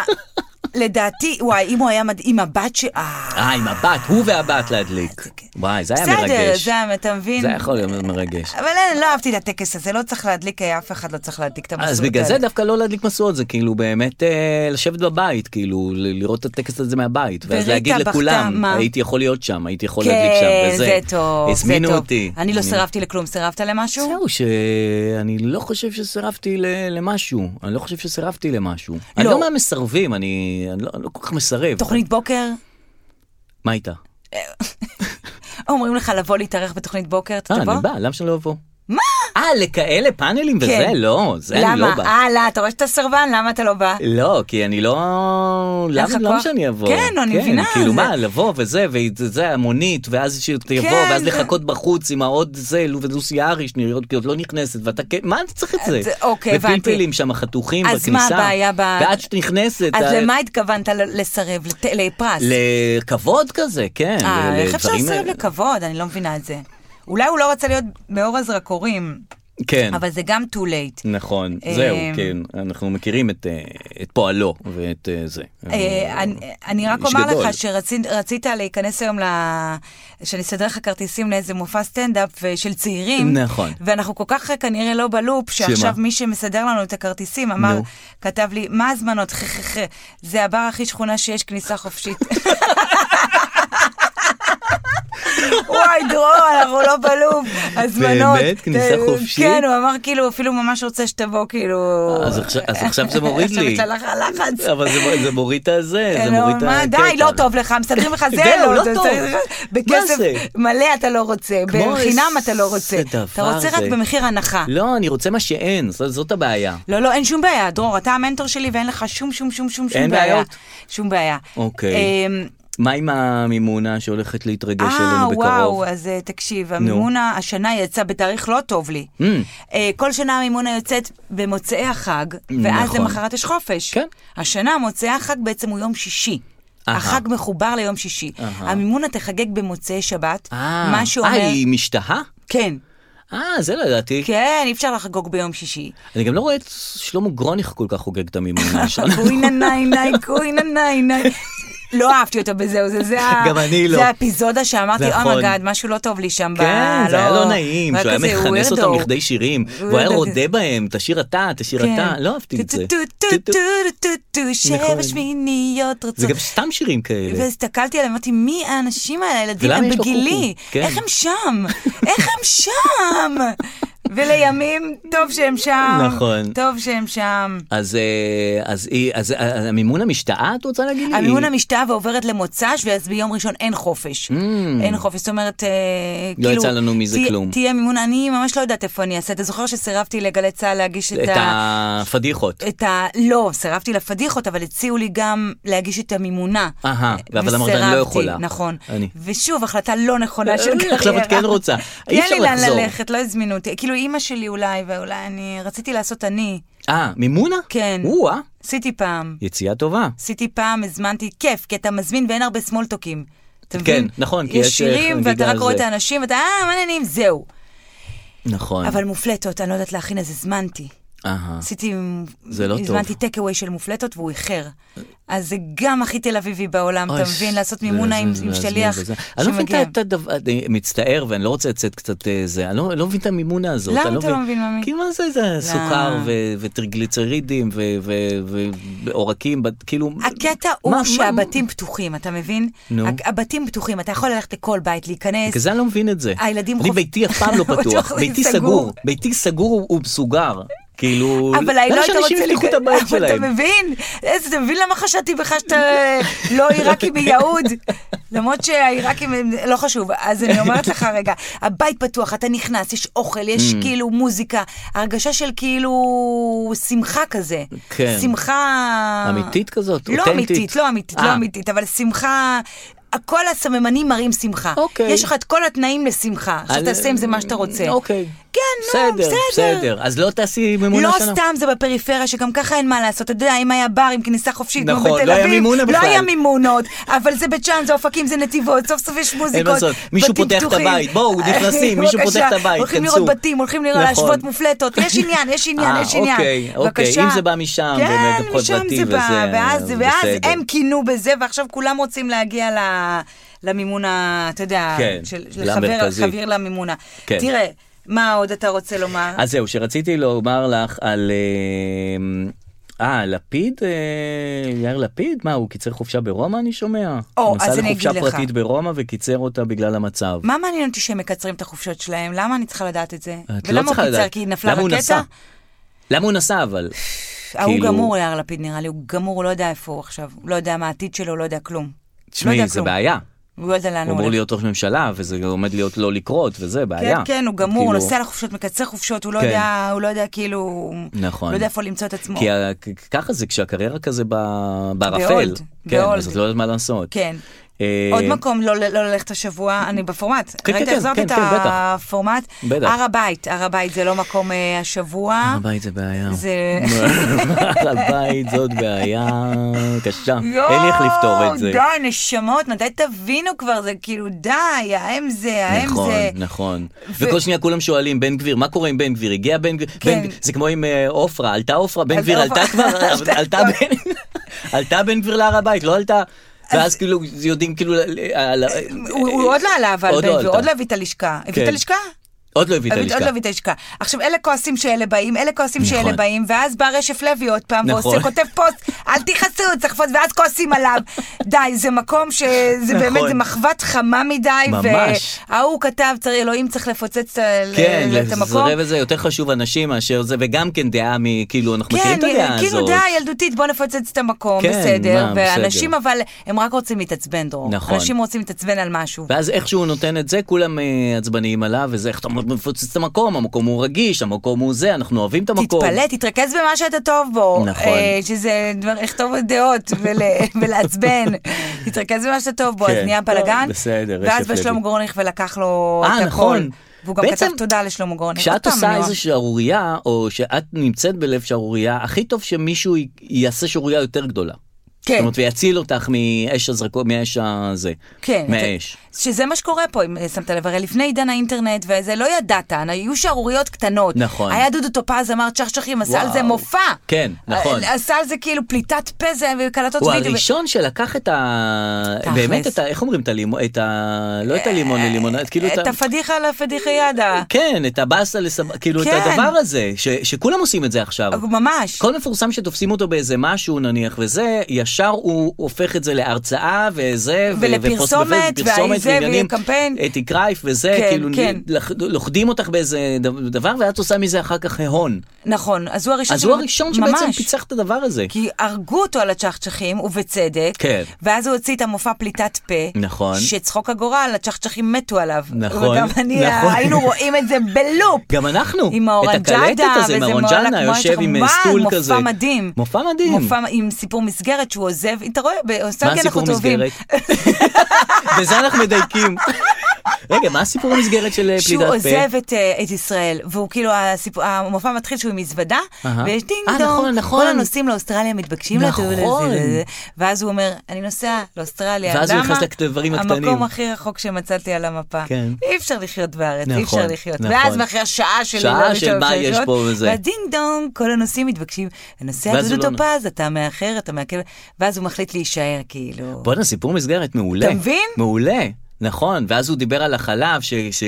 לדעתי, וואי, אם הוא היה מדהים, הבת ש... אה,
אה, עם הבת, הוא והבת להדליק.
זה כן.
וואי, זה היה
בסדר,
מרגש.
זה היה, אתה מבין?
זה היה יכול להיות מרגש.
אבל אין, לא אהבתי את הטקס הזה, לא צריך להדליק, אה, אף אחד לא צריך להדליק את המסורת.
אז בגלל זה דווקא לא להדליק משואות, זה כאילו באמת אה, לשבת בבית, כאילו ל- לראות את הטקס הזה מהבית, ואז
וריטה
להגיד
בכתה,
לכולם,
מה?
הייתי יכול להיות שם, הייתי יכול להדליק שם,
כן,
וזה.
זה טוב, זה
הזמינו
טוב.
אותי.
אני לא סירבתי לכלום, סירבת למשהו?
זהו, שאני לא חושב שסירבתי ל- למשהו, אני לא חושב שסירבתי למשהו. אני
לא.
לא מהמסרבים, אני אני לא לא כל כך מסרב.
תוכנית בוקר?
מה איתה?
אומרים לך לבוא להתארח בתוכנית בוקר, אתה
אה,
תבוא?
אני בא, למה שלא אבוא? מה? אה, לכאלה פאנלים וזה?
כן.
לא, זה אני לא
למה?
בא.
אה, לא, אתה רואה שאתה סרבן, למה אתה לא בא?
לא, כי אני לא... למה
לך
למה
כוח?
שאני אבוא?
כן, אני מבינה,
כאילו
זה-
מה, לבוא וזה, וזה המונית, ואז שתבוא,
כן,
ואז
זה-
לחכות בחוץ עם העוד זה, לו- ולוסי אריש נראות כי עוד לא נכנסת, ואתה כן, מה אתה צריך את זה?
אז, אוקיי, הבנתי.
ופלפלים שם חתוכים
אז
בכניסה.
מה הבעיה ב-
ועד שאת נכנסת... אה,
אז
ה-
למה התכוונת ל- לסרב? לת- לפרס?
לכבוד כזה, כן. ל-
אה, איך אפשר
לדברים-
לסרב לכבוד? אני לא מבינה את זה. אולי הוא לא רצה להיות מאור הזרקורים,
כן.
אבל זה גם too late.
נכון, זהו,
אמ,
כן, אנחנו מכירים את, אה, את פועלו ואת אה, זה.
אה, אני- אני רק
איש
אומר
גדול.
לך שרצית להיכנס היום ל... שאני אסדר לך כרטיסים לאיזה מופע סטנדאפ אה, של צעירים.
נכון.
ואנחנו כל כך אה, כנראה לא בלופ, שעכשיו
שמה?
מי שמסדר לנו את הכרטיסים אמר,
נו.
כתב לי, מה הזמנות? חחחח, זה הבר הכי שכונה שיש, כניסה חופשית. וואי, דרור, אנחנו לא בלופ, הזמנות.
באמת? כניסה
אה,
חופשית?
כן, הוא אמר כאילו, הוא אפילו ממש רוצה שתבוא, כאילו...
אז עכשיו- אז עכשיו זה מוריד לי.
עכשיו יש לה לחץ.
אבל זה, זה מוריד את הזה, זה
לא,
מוריד את
מה,
הקטע.
די, לא טוב לך, מסדרים לך זה,
זהו,
לא,
לא
זה
טוב.
צריך-
מה
בכסף
זה?
מלא אתה לא רוצה,
כמו
בחינם
איזה
אתה לא רוצה.
דבר
אתה רוצה רק
זה.
במחיר הנחה.
לא, אני רוצה מה שאין, זאת, זאת הבעיה.
לא, לא, אין שום בעיה, דרור, אתה המנטור שלי ואין לך שום, שום, שום, שום, שום
אין
בעיה.
בעיות?
שום בעיה.
אוקיי.
אמ,
מה עם המימונה שהולכת להתרגש
אה,
אלינו בקרוב?
וואו, אז אה, תקשיב, המימונה השנה יצאה בתאריך לא טוב לי.
Mm.
אה, כל שנה המימונה יוצאת במוצאי החג, ואז
נכון.
למחרת יש חופש.
כן.
השנה מוצאי החג בעצם הוא יום שישי.
אהה.
החג מחובר ליום שישי.
אהה.
המימונה תחגג במוצאי שבת,
אה,
מה שאומר...
אה, היא משתהה?
כן,
אה, זה לא ידעתי.
כן, אי אפשר לחגוג ביום שישי.
אני גם לא רואה את שלמה גרוניך כל כך חוגג את המימונה שלנו.
קווינה ניי ניי, קווינה ניי ניי. לא אהבתי אותה בזהו, זה, זה, ה-
גם אני לא.
זה האפיזודה שאמרתי,
נכון.
אומייגאד, משהו לא טוב לי שם. ב-
כן, זה היה לא נעים,
רק
שהוא היה
כזה, הוא
מכנס
weirdo.
אותם לכדי שירים, והוא היה
weirdo
רודה
כזה.
בהם, תשיר אתה, תשיר
כן.
אתה, לא אהבתי את זה.
טו טו טו טו טו טו,
נכון.
שבע שמיניות רצו.
זה גם סתם שירים כאלה.
והסתכלתי עליהם, אמרתי, מי האנשים האלה, הילדים,
ולמה
הם
יש לו
בגילי,
קוקו? כן.
איך הם שם? איך הם שם? ולימים, טוב שהם שם,
נכון.
טוב שהם שם.
אז, אה, אז, היא- אז, אז המימונה משתאה, את רוצה להגיד לי?
המימונה משתאה ועוברת למוצ"ש, ואז ביום ראשון אין חופש. אין חופש, זאת אומרת, אה,
Mm. לא
כאילו...
יצא לנו מזה
תה-
כלום.
תהיה מימונה, אני ממש לא יודעת איפה אני אעשה. אתה זוכר שסירבתי לגלי צהל להגיש
את הפדיחות.
את ה... לא, סירבתי לפדיחות, אבל הציעו לי גם להגיש את המימונה. אה,
אהה, אבל אמרת, אני לא
וסירבתי,
יכולה.
נכון.
אני.
ושוב, החלטה לא נכונה של קריירה.
עכשיו את כן רוצה. אי
אין
אפשר
לי לאן
לחזור.
ללכת, לא הזמינו אותי. כאילו, אימא שלי אולי, ואולי אני... רציתי לעשות אני.
אה, מימונה?
כן.
או-אה,
עשיתי פעם.
יציאה טובה.
עשיתי פעם, הזמנתי, כיף, כי אתה מזמין ואין הרבה סמולטוקים. אתה
כן,
מבין?
נכון, כי יש,
יש שירים,
איך
ואתה
נגידה
רק רואה
זה.
את האנשים, ואתה, אה, מה העניינים, זהו.
נכון.
אבל מופלטות, אני לא יודעת להכין, אז הזמנתי.
אהה.
עשיתי,
זה לא טוב.
הזמנתי טק אווי של מופלטות והוא איחר. אז זה גם הכי תל אביבי בעולם, אתה
אוי,
מבין?
ש-
לעשות
זה-
מימונה
זה-
עם
זה
עם
להזמין
שליח
וזה. אני לא מבין
שמגיע.
את הדבר, אני מצטער ואני לא רוצה לצאת קצת אה, זה, אני לא לא מבין את המימונה הזאת.
למה
אני
אתה לא מבין, מאמי? לא.
כי מה זה, זה סוכר ו- וטריגליצרידים ו- ו- ועורקים, בת- כאילו...
הקטע
מה-
הוא
מה-
שהבתים פתוחים, אתה מבין?
נו.
הק- הבתים פתוחים, אתה יכול ללכת לכל בית, להיכנס.
בגלל זה אני לא מבין את זה.
הילדים
אני
חופ-
ביתי אף פעם לא
בטוח
פתוח, ביתי
סגור.
סגור, ביתי סגור הוא- הוא מסוגר. כאילו,
אבל אולי לא היית רוצה...
למה שאנשים יפתחו את
להיכנס-
הבית
אבל
שלהם?
אתה מבין? איזה, אתה מבין למה חשדתי בך שאתה לא עיראקי מיהוד? למרות שהעיראקים הם... לא חשוב. אז אני אומרת לך, רגע, הבית פתוח, אתה נכנס, יש אוכל, יש
Mm.
כאילו מוזיקה. הרגשה של כאילו שמחה כזה.
כן.
שמחה...
אמיתית כזאת?
לא
אותנטית?
אמיתית, לא אמיתית, לא
אה.
אמיתית, אבל שמחה... כל הסממנים מראים שמחה.
אוקיי.
יש לך את כל התנאים לשמחה. עכשיו
על-
תעשה עם זה מה שאתה רוצה.
אוקיי.
כן, נו,
בסדר, בסדר. אז לא תעשי ממונה
לא
שנה.
סתם זה בפריפריה, שגם ככה אין מה לעשות. אתה יודע, אם היה בר עם כניסה חופשית, כמו
נכון,
בתל
לא היה
אביב,
מימונה
לא
בכלל.
היה מימונות, אבל זה בית שאן, זה אופקים, זה נתיבות, סוף סוף יש מוזיקות.
מה לעשות, מישהו
בתים
פותח את
פתוחים.
הבית, בואו, נכנסים, מישהו
בבקשה,
פותח את הבית,
הולכים
כנסו.
לראות בתים, הולכים לראות
נכון.
להשוות מופלטות, יש עניין, יש עניין,
אה,
יש עניין.
אוקיי, אוקיי.
בבקשה.
אם זה בא משם, באמת,
כן,
לפחות
משם
בתים
זה בא,
וזה,
ואז
זה
ואז
בסדר.
הם כינו בזה, ועכשיו כולם רוצים להגיע ל- למימון ה... אתה יודע,
כן,
של-
למרכזי.
לחבר למימונה.
כן.
תראה, מה עוד אתה רוצה לומר?
אז זהו, שרציתי לומר לך על... אה, אה, לפיד? אה, יאיר לפיד? מה, הוא קיצר חופשה ברומא, אני שומע?
או, אז
הוא
אני
נסע
אגיד לך.
לחופשה פרטית ברומא וקיצר אותה בגלל המצב.
מה מעניין אותי שהם מקצרים את החופשות שלהם? למה אני צריכה לדעת את זה?
את
ולמה
לא צריכה
הוא קיצר?
לדעת.
כי נפלה לא
למה הוא
רקטה?
נסע? למה הוא נסע אבל?
ההוא
כאילו-
גמור, יאיר לפיד נראה לי, הוא גמור, הוא לא יודע איפה הוא עכשיו. הוא לא יודע מה העתיד שלו, הוא לא יודע כלום. לא יודע
תשמעי, זה
כלום.
בעיה.
הוא לא יודע לאן
הוא
הוא
אמור
הולך.
להיות ראש ממשלה, וזה עומד להיות לא לקרות, וזה בעיה.
כן, כן, הוא גמור, הוא
כאילו-
נוסע לחופשות, מקצר חופשות, הוא לא
כן.
יודע, הוא לא יודע כאילו...
נכון.
לא יודע איפה למצוא את עצמו.
כי ה- כ- ככה זה כשהקריירה כזה ב- בערפל.
ב-old,
כן,
ב-old.
אז את לא יודעת מה לעשות.
כן.
אה,
עוד מקום לא לא ללכת השבוע, אני בפורמט.
כן,
ראית,
כן,
החזרתי
כן,
את
כן, בטח.
הפורמט.
בטח.
הר הבית, הר הבית זה לא מקום אה, השבוע.
הבית זה בעיה.
זה...
הבית זאת בעיה קשה.
יואו,
אין לי איך לפתור את זה.
די, נשמות, מתי תבינו כבר, זה כאילו, די, האם זה, האם
נכון,
זה.
נכון.
ו-
וכל שנייה כולם שואלים, בן גביר, מה קורה עם בן גביר? הגיע בן גביר?
כן.
בן גביר- זה כמו עם אה, עופרה, עלתה עופרה, בן
עלתה
גביר עלתה
עופרה.
כבר?
עלתה
עלתה
כבר.
בן- עלתה בן גביר להר הבית, לא עלתה? ואז כאילו יודעים כאילו... ל- ל- על-
הוא הוא עוד לא עלה, אבל
נכון. עוד
בן
לא
גביר,
עלתה.
עוד לא הביא את הלשכה. הביא את
כן.
הלשכה?
עוד לא הביא את
הביא- עוד לא
הלשכה.
הביא את הלשכה. עכשיו, אלה כועסים שאלה באים, אלה כועסים שאלה
נכון.
באים, ואז בא רשף לוי עוד פעם,
נכון.
ועושה, כותב פוסט, אל תכעסו, צריך פוסט, ואז כועסים עליו. די, זה מקום שזה
נכון.
באמת, זה מחבת חמה מדי,
ממש.
וההוא כתב, "צריך- אלוהים צריך לפוצץ את ה-
כן,
את המקום.
לזרב את זה יותר חשוב אנשים מאשר זה, וגם כן דעה מכאילו, אנחנו מכירים את הדעה הזאת.
כאילו די, ילדותית, בוא נפוצץ את המקום,
כן,
בסדר.
מה,
ואנשים
בסדר.
אבל, הם רק רוצים להתעצבן, דרור.
נכון.
אנשים רוצים להתעצבן על משהו.
ואז איך שהוא נותן את זה, כולם אה, עצבניים עליו, וזה איך אתה מפוצץ את המקום, המקום הוא רגיש, המקום הוא זה, אנחנו אוהבים את המקום.
תתפלא, תתרכז במה שאתה טוב בו.
נכון.
אה, שזה דבר, לכתוב דעות ול, ולעצבן. תתרכז במה שאתה טוב בו, אז
כן.
נהיה בלאגן.
טוב, בסדר,
ואז
רשף
בא
לוי.
שלמה גורניך ולקח לו
אה,
את הכל.
נכון.
והוא גם
בעצם,
כתב תודה לשלמה גורניך. עוד
כשאת
פעם,
עושה
נו.
איזו שערורייה, או שאת נמצאת בלב שערורייה, הכי טוב שמישהו י- יעשה שערורייה יותר גדולה. זאת
כן,
אומרת, ויציל אותך מאש הזרקו, מאש הזה.
כן.
מהאש.
שזה מה שקורה פה, אם אה, שמת לב, הרי לפני עידן האינטרנט וזה, לא ידעת, היו שערוריות קטנות.
נכון.
היה דודו טופז, אמר צ'חצ'חים, עשה על זה
וואו.
מופע.
כן, נכון.
עשה על זה כאילו פליטת פה, זה קלטות
הוא
וידאו. ו-
הראשון שלקח את ה...
תכלס. אה,
באמת את ה... איך אומרים את הלימון? את ה... לא את הלימון ללימונד, כאילו
את הפדיחה אה, על הפדיחיאדה.
כן, את הבאסה לסבבה, כאילו
כן.
את הדבר הזה, ש... שכולם עושים את זה עכשיו.
ממש.
כל מפורסם שתופסים אותו באיזה משהו נניח וזה, ישר הוא הופך את זה להרצאה וזה, ו-
ולפרסומת,
ופוסט בפייסבוק,
והזה,
פרסומת
ויהיה
ועניינים,
קמפיין.
אתי קרייף וזה,
כן,
כאילו
כן.
לח- לוכדים אותך באיזה ד- דבר ואת עושה מזה אחר כך הון.
נכון, אז הוא הראשון,
אז הוא
שמ-
הראשון שבעצם
ממש.
פיצח את הדבר הזה.
כי הרגו אותו על הצ'חצ'חים, ובצדק,
כן.
ואז הוא הוציא את המופע פליטת פה,
נכון.
שצחוק הגורל, הצ'חצ'חים מתו עליו.
נכון,
וגם אני, אה,
נכון.
היינו רואים את זה בלופ.
גם אנחנו,
עם
את הקלטת
האורנג'אדה,
הזה, עם
וזה
האורנג'אנה
מועלק-
יושב עם אה,
מועלק,
סטול
מופע
כזה.
מדהים.
מופע מדהים.
מופע עם סיפור מסגרת שהוא עוזב, אתה רואה,
מה
באוסטרליה
הסיפור
אנחנו טובים.
מסגרת? בזה אנחנו מדייקים. רגע, מה הסיפור המסגרת של אה, פליטת פה?
שהוא עוזב את, אה, את ישראל, והוא כאילו, הסיפור, המופע מתחיל שהוא עם מזוודה,
אהה.
ויש דינג
אה,
דונג,
נכון, נכון.
כל הנוסעים לאוסטרליה מתבקשים
נכון.
לטור לזה, לזה, ואז הוא אומר, אני נוסע לאוסטרליה,
ואז הוא
למה?
נכנס לדברים
המקום
הקטנים."
הכי רחוק שמצאתי על המפה.
כן.
אי אפשר לחיות בארץ, אי
נכון,
אפשר לחיות.
נכון.
ואז אחרי השעה שלי,
שעה
לא, אי
של
אפשר
מה יש
לחיות,
פה וזה.
והדינג דונג, כל הנוסעים מתבקשים, ונוסע
ואז הוא
דודו
לא-
טופז, אתה מאחר, אתה מעכב, ואז הוא מחליט להישאר, כאילו.
בואנה, סיפור מסגרת מעולה.
אתה מבין?
מעולה, נכון. ואז הוא דיבר על החלב, ש... ש...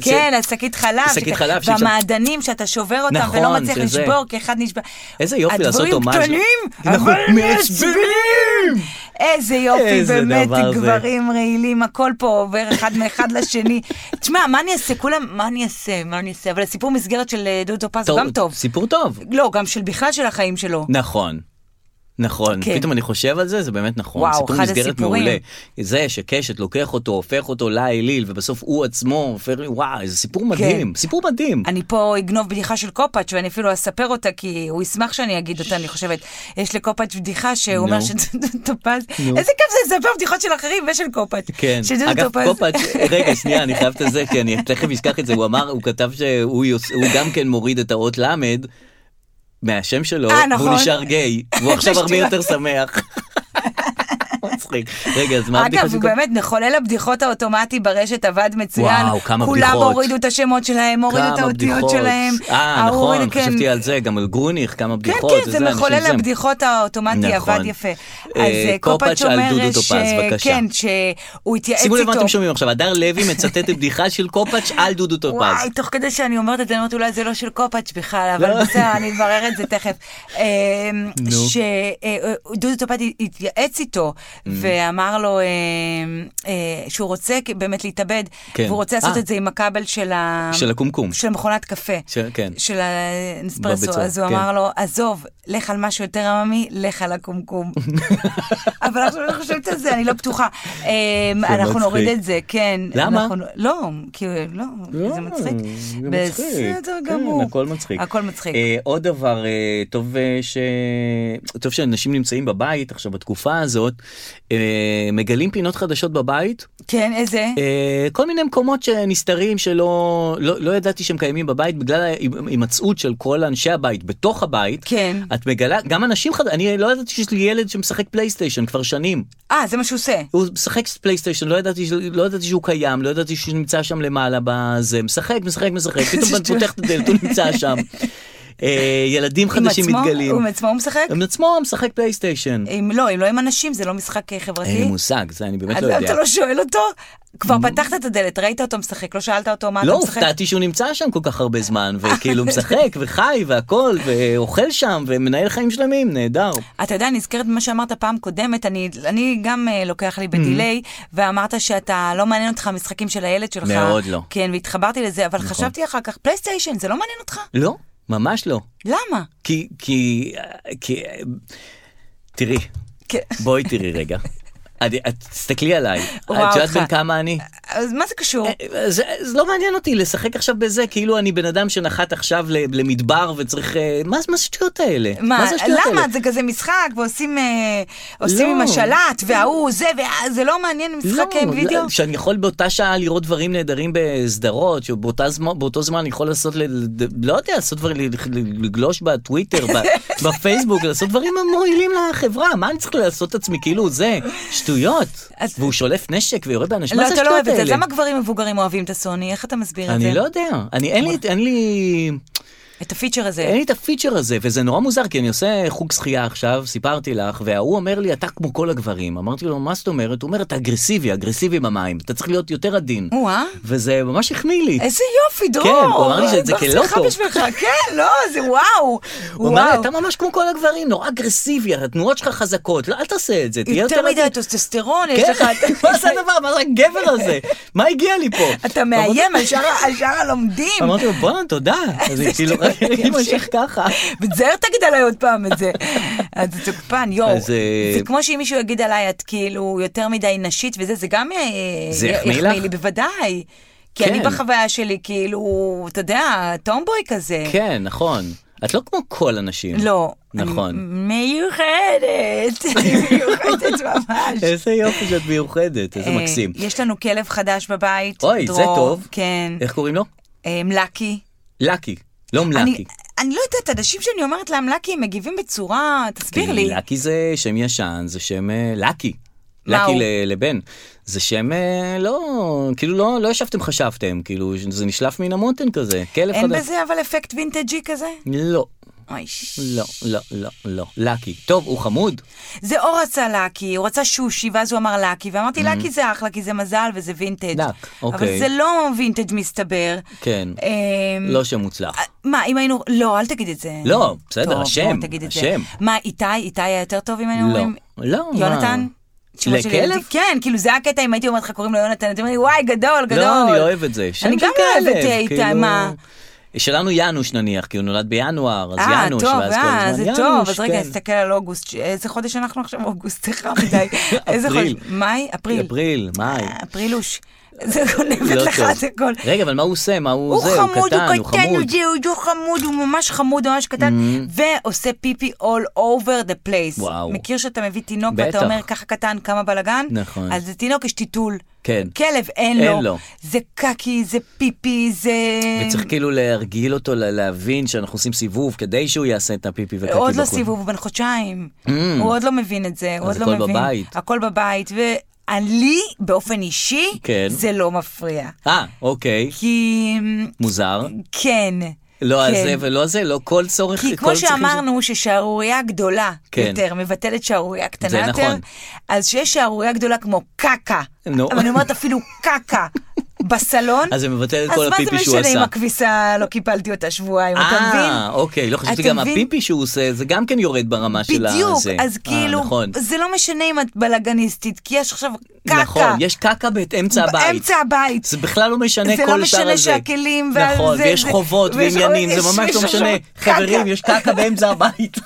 כן,
ש...
על שקית חלב.
שקית
שכ-
חלב, שאי
והמעדנים שאתה שובר אותם
נכון,
ולא מצליח
שזה.
לשבור, כי אחד נשבר.
איזה יופי לעשות הומאז'. נכון,
הדברים קטנים,
אנחנו
אבל
מעצבנים.
מעצבנים. אה, איזה יופי,
איזה
באמת,
דבר זה.
גברים רעילים, הכל פה עובר אחד מאחד לשני. תשמע, מה אני אעשה? כולם, מה אני אעשה? מה אני אעשה? אבל הסיפור מסגרת של אה, דודו פז הוא גם טוב.
סיפור טוב.
לא, גם של בכלל של החיים שלו.
נכון. נכון,
כן.
כן. פתאום אני חושב על זה, זה באמת נכון.
וואו,
סיפור
אחד
מסגרת
הסיפורים.
מעולה. זה שקשת לוקח אותו, הופך אותו לאליל, ובסוף הוא עצמו הופך, וואו, איזה סיפור מדהים, סיפור מדהים.
כן. אני פה אגנוב בדיחה של קופאץ' ואני אפילו אספר אותה, כי הוא ישמח שאני אגיד אותה, אני חושבת. יש לקופאץ' בדיחה שהוא אומר
נו.
שדודו טופז, איזה כיף זה לספר בדיחות של אחרים ושל קופאץ'.
כן,
שדודו
אגב
טופז-
קופאץ', רגע שנייה אני חייב את זה כי אני תכף אשכח את זה, הוא אמר, הוא כתב שהוא יוס- הוא גם כן מוריד את האות ל' מהשם שלו,
אה,
והוא
נכון.
נשאר גיי, והוא עכשיו הרבה
שטויות.
יותר שמח. מצחיק. רגע אז מה הבדיחה
אגב,
של
הוא
קופאץ'?
באמת, מחולל הבדיחות האוטומטי ברשת עבד מצוין.
וואו, כמה
כולם
בדיחות.
הורידו את השמות שלהם, הורידו את
כמה
האותיות
בדיחות.
שלהם.
אה
ההוא
נכון,
הוריד- כן.
חשבתי על זה, גם על גרוניך, כמה
כן,
בדיחות.
כן, זה
וזה, אנשים
מחולל
זה.
הבדיחות האוטומטי,
נכון.
עבד יפה. אז
אה,
אה, קופאץ'
קופאץ' על
אומר
דודו
ש...
טופז, בבקשה.
כן, שהוא התייעץ
שימו
איתו.
לב מה אתם שומעים עכשיו, הדר לוי מצטט בדיחה של קופאץ' על דודו טופז.
וואי, תוך כדי שאני אומרת את זה, אני אומרת אולי זה לא של קופאץ' בכלל, אבל בסדר, אני אברר את זה תכף.
לא.
אמ,
נו.
שדודו אה, טופז התייעץ איתו,
Mm.
ואמר לו אה, אה, שהוא רוצה באמת להתאבד,
כן.
והוא רוצה לעשות
אה.
את זה עם הכבל של ה...
של הקומקום.
של מכונת קפה.
של- כן.
של
בבית
האנספרסו.
סוהר,
אז הוא
כן.
אמר לו, עזוב, לך על משהו יותר עממי, לך על הקומקום. אבל עכשיו אני חושבת על זה, אני לא בטוחה. אה, אנחנו
מצחיק.
נוריד את זה, כן.
למה?
אנחנו- לא, כי לא,
לא,
זה מצחיק.
זה מצחיק.
בסדר
כן,
גמור.
הכל מצחיק.
הכל מצחיק.
אה, עוד דבר, אה, טוב, אה, ש... טוב שאנשים נמצאים בבית עכשיו בתקופה הזאת, אה, מגלים פינות חדשות בבית,
כן, איזה?
אה, כל מיני מקומות שנסתרים שלא לא, לא ידעתי שהם קיימים בבית בגלל ההימצאות של כל אנשי הבית בתוך הבית.
כן.
את מגלה, גם אנשים חדשים, אני לא ידעתי שיש לי ילד שמשחק פלייסטיישן כבר שנים.
אה, זה מה שהוא עושה.
הוא משחק פלייסטיישן, לא ידעתי, לא ידעתי שהוא קיים, לא ידעתי שהוא נמצא שם למעלה בזה, משחק, משחק, משחק, פתאום
זה
אתה פותח את הדלת, הוא נמצא שם. אה, ילדים
עם
חדשים
עצמו?
מתגלים. אה,
הוא עם עצמו הוא משחק?
עם עצמו משחק פלייסטיישן.
אם לא, אם לא עם אנשים, זה לא משחק אה, חברתי.
אין לי מושג, זה אני באמת
אז
לא
למה אתה
יודע.
לא שואל אותו? כבר פתחת את הדלת, ראית אותו משחק, לא שאלת אותו מה אתה
לא,
משחק?
הופתעתי שהוא נמצא שם כל כך הרבה זמן, וכאילו משחק וחי והכל, ואוכל שם, ומנהל חיים שלמים, נהדר.
אתה יודע, אני נזכרת במה שאמרת פעם קודמת, אני, אני גם uh, לוקח לי בדיליי, ואמרת שאתה, לא מעניין אותך המשחקים של הילד שלך.
מאוד לא. נכון.
כן, והתחברתי לזה, אבל חשבתי אחר כך, פלייסטיישן, זה לא מעניין אותך?
לא, ממש לא.
למה?
כי, כי, אה, כי, תראי,
כן.
בואי תראי רגע. אני- את תסתכלי עליי, את
וואו,
יודעת
אותך. אה.
בן כמה אני?
אז מה זה
אה,
קשור?
זה, זה לא מעניין אותי לשחק עכשיו בזה, כאילו אני בן אדם שנחת עכשיו ל- למדבר וצריך... אה, מה זה מה זה השטויות האלה?
מה,
זה השטויות האלה?
למה? זה כזה משחק, ועושים אה, עושים
לא.
עם השלט, וההוא, זה, וה- זה לא מעניין משחק אה,
לא,
וידאו?
לא, שאני יכול באותה שעה לראות דברים נהדרים בסדרות, שבאותה זמן, באותו זמן אני יכול לעשות, ל, ל- לא יודע, לעשות דברים, ל- ל- לגלוש בטוויטר, ב- בפייסבוק, לעשות דברים מועילים לחברה, מה אני צריך לעשות את עצמי, כאילו זה, שטויות.
אז-
והוא שולף נשק ויורה באנשים,
לא,
מה זה
אתה לא
השטויות
אוהב את
האלה?
זה. אז למה גברים מבוגרים אוהבים את הסוני? איך אתה מסביר את זה?
אני לא יודע, אני אין לי, אין לי,
את הפיצ'ר הזה.
אין לי את הפיצ'ר הזה, וזה נורא מוזר, כי אני עושה חוג שחייה עכשיו, סיפרתי לך, וההוא אומר לי, אתה כמו כל הגברים. אמרתי לו, מה זאת אומרת? הוא אומר, אתה אגרסיבי, אגרסיבי במים, אתה צריך להיות יותר עדין.
או-אה.
וזה ממש החמיא לי.
איזה יופי, דרור.
כן, הוא אמר לי שאת זה
אני
כלא
שמחה
טוב.
בשבילך, כן, לא, זה וואו.
הוא אמר לי,
וואו.
אתה ממש כמו כל הגברים, נורא אגרסיבי, התנועות שלך חזקות, לא, אל תעשה את זה, תהיה יותר
יותר מדי
עדין.
טוסטסטרון, יש
כן,
לך... אתה-
מה זה הדבר, מה זה הגבר הזה? מה הגיע לי פה?
אתה מאיים על שאר- על שאר הלומדים.
אמרתי לו, בואנה, תודה. אז
איזה
כאילו,
שטויות,
אם
תמשיך.
המשך ככה.
ותזהר תגיד עליי עוד פעם את זה. אז זה תוקפן, יואו.
אז, אה,
זה כמו שאם מישהו יגיד עליי, את כאילו יותר מדי נשית וזה, זה גם אה,
זה
י-
יחמיא לך?
לי, בוודאי. כי
כן.
אני בחוויה שלי, כאילו, אתה יודע, טומבוי כזה.
כן, נכון. את לא כמו כל הנשים.
לא.
נכון.
אני מיוחדת. מיוחדת ממש.
איזה יופי שאת מיוחדת, איזה
אה,
מקסים.
יש לנו כלב חדש בבית.
אוי, זה
דרור,
טוב.
כן.
איך קוראים לו?
אה, מלאקי.
לקי, לא
אני,
מלקי.
אני לא יודעת, אנשים שאני אומרת להם לקי, הם מגיבים בצורה, תסביר לי.
לקי זה שם ישן, זה שם אה, לקי.
מה
לקי
הוא?
ל- לבן. זה שם אה, לא, כאילו לא, לא ישבתם חשבתם, כאילו זה נשלף מן המותן כזה, כלב
אין
חדש.
בזה אבל אפקט וינטג'י כזה?
לא,
אוי, ש-
לא, לא, לא, לא. לקי. טוב, הוא חמוד.
זה אור רצה לקי, הוא רצה שושי, ואז הוא אמר לקי, ואמרתי לקי זה אחלה, כי זה מזל וזה וינטג'.
דק,
אבל
Mm-hmm. אוקיי.
זה לא וינטג' מסתבר.
כן.
אמ,
לא שם מוצלח.
מה, אם היינו... לא, אל תגיד את זה.
לא, בסדר,
טוב,
השם,
בוא, תגיד את זה.
השם.
מה, איתי? איתי היה יותר טוב אם היינו
לא.
אומרים?
לא, מה?
יונתן? שמות של ילדים.
לכלב?
כן, כאילו זה הקטע אם הייתי אומרת לך קוראים לו יונתן, הייתי אומרת לי וואי גדול, גדול.
לא, אני לא אוהב את זה. שם
אני
של
גם לא אוהבת
כלב,
איתה,
כאילו-
מה?
שלנו ינוש נניח, כי הוא נולד בינואר, אז
אה,
ינוש,
טוב,
ואז כל
אה,
הזמן
זה
ינוש,
טוב, אז רגע,
כן.
נסתכל על אוגוסט, ש- איזה חודש אנחנו עכשיו? אוגוסט, סליחה מדי. איזה חודש?
אפריל.
מאי? אפריל.
אפריל, לא מאי.
אה, אפרילוש. זה גונבת לך את הכל.
רגע, אבל מה הוא עושה? מה הוא
הוא
זה? הוא
חמוד,
קטן,
הוא
הוא
קטן, הוא
חמוד. Mm-hmm.
זה, הוא חמוד, הוא ממש חמוד, הוא ממש קטן, ועושה פיפי all over the place.
וואו.
מכיר שאתה מביא תינוק
בטח.
ואתה אומר ככה קטן, כמה בלאגן?
נכון.
אז לתינוק יש טיטול.
כן.
כלב אין
אין
לו.
לו.
זה קקי, זה פיפי, זה...
וצריך כאילו להרגיל אותו ל- להבין שאנחנו עושים סיבוב כדי שהוא יעשה את הפיפי וקקי
עוד לא
בחוץ.
סיבוב, הוא בן חודשיים. הוא עוד לא מבין את זה, הוא עוד
Mm. אז
לא
הכל
מבין.
בבית.
הכל בבית. ולי, באופן אישי,
כן.
זה לא מפריע.
אה, אוקיי,
כי...
מוזר.
כן.
לא
כן.
הזה ולא זה, לא כל צורך.
כי
כל
כמו
צריכים
שאמרנו ששערורייה גדולה
כן.
יותר מבטלת שערורייה
זה
קטנה
נכון.
יותר, אז שיש שערורייה גדולה כמו קקה,
נו.
אבל אני אומרת אפילו קקה בסלון,
אז זה מבטל את
אז
כל
מה
הפיפי שהוא
זה משנה
עשה.
אם הכביסה לא קיפלתי אותה שבועיים, אתה מבין?
אה, אוקיי, לא חשבתי
אתה
גם
מבין?
הפיפי שהוא עושה, זה גם כן יורד ברמה של הזה.
בדיוק, אז
אה,
כאילו,
נכון.
זה לא משנה אם את בלאגניסטית, כי יש עכשיו קקה.
נכון, יש קקה באמצע הבית.
באמצע הבית.
זה בכלל לא משנה
זה
כל
לא
שאר הזה.
משנה שהכלים ועל
נכון,
זה-
ויש
זה-
חובות
ויש-
ועניינים, זה
יש-
ממש
יש
לא משנה.
שם קקה.
חברים, יש קקה באמצע הבית.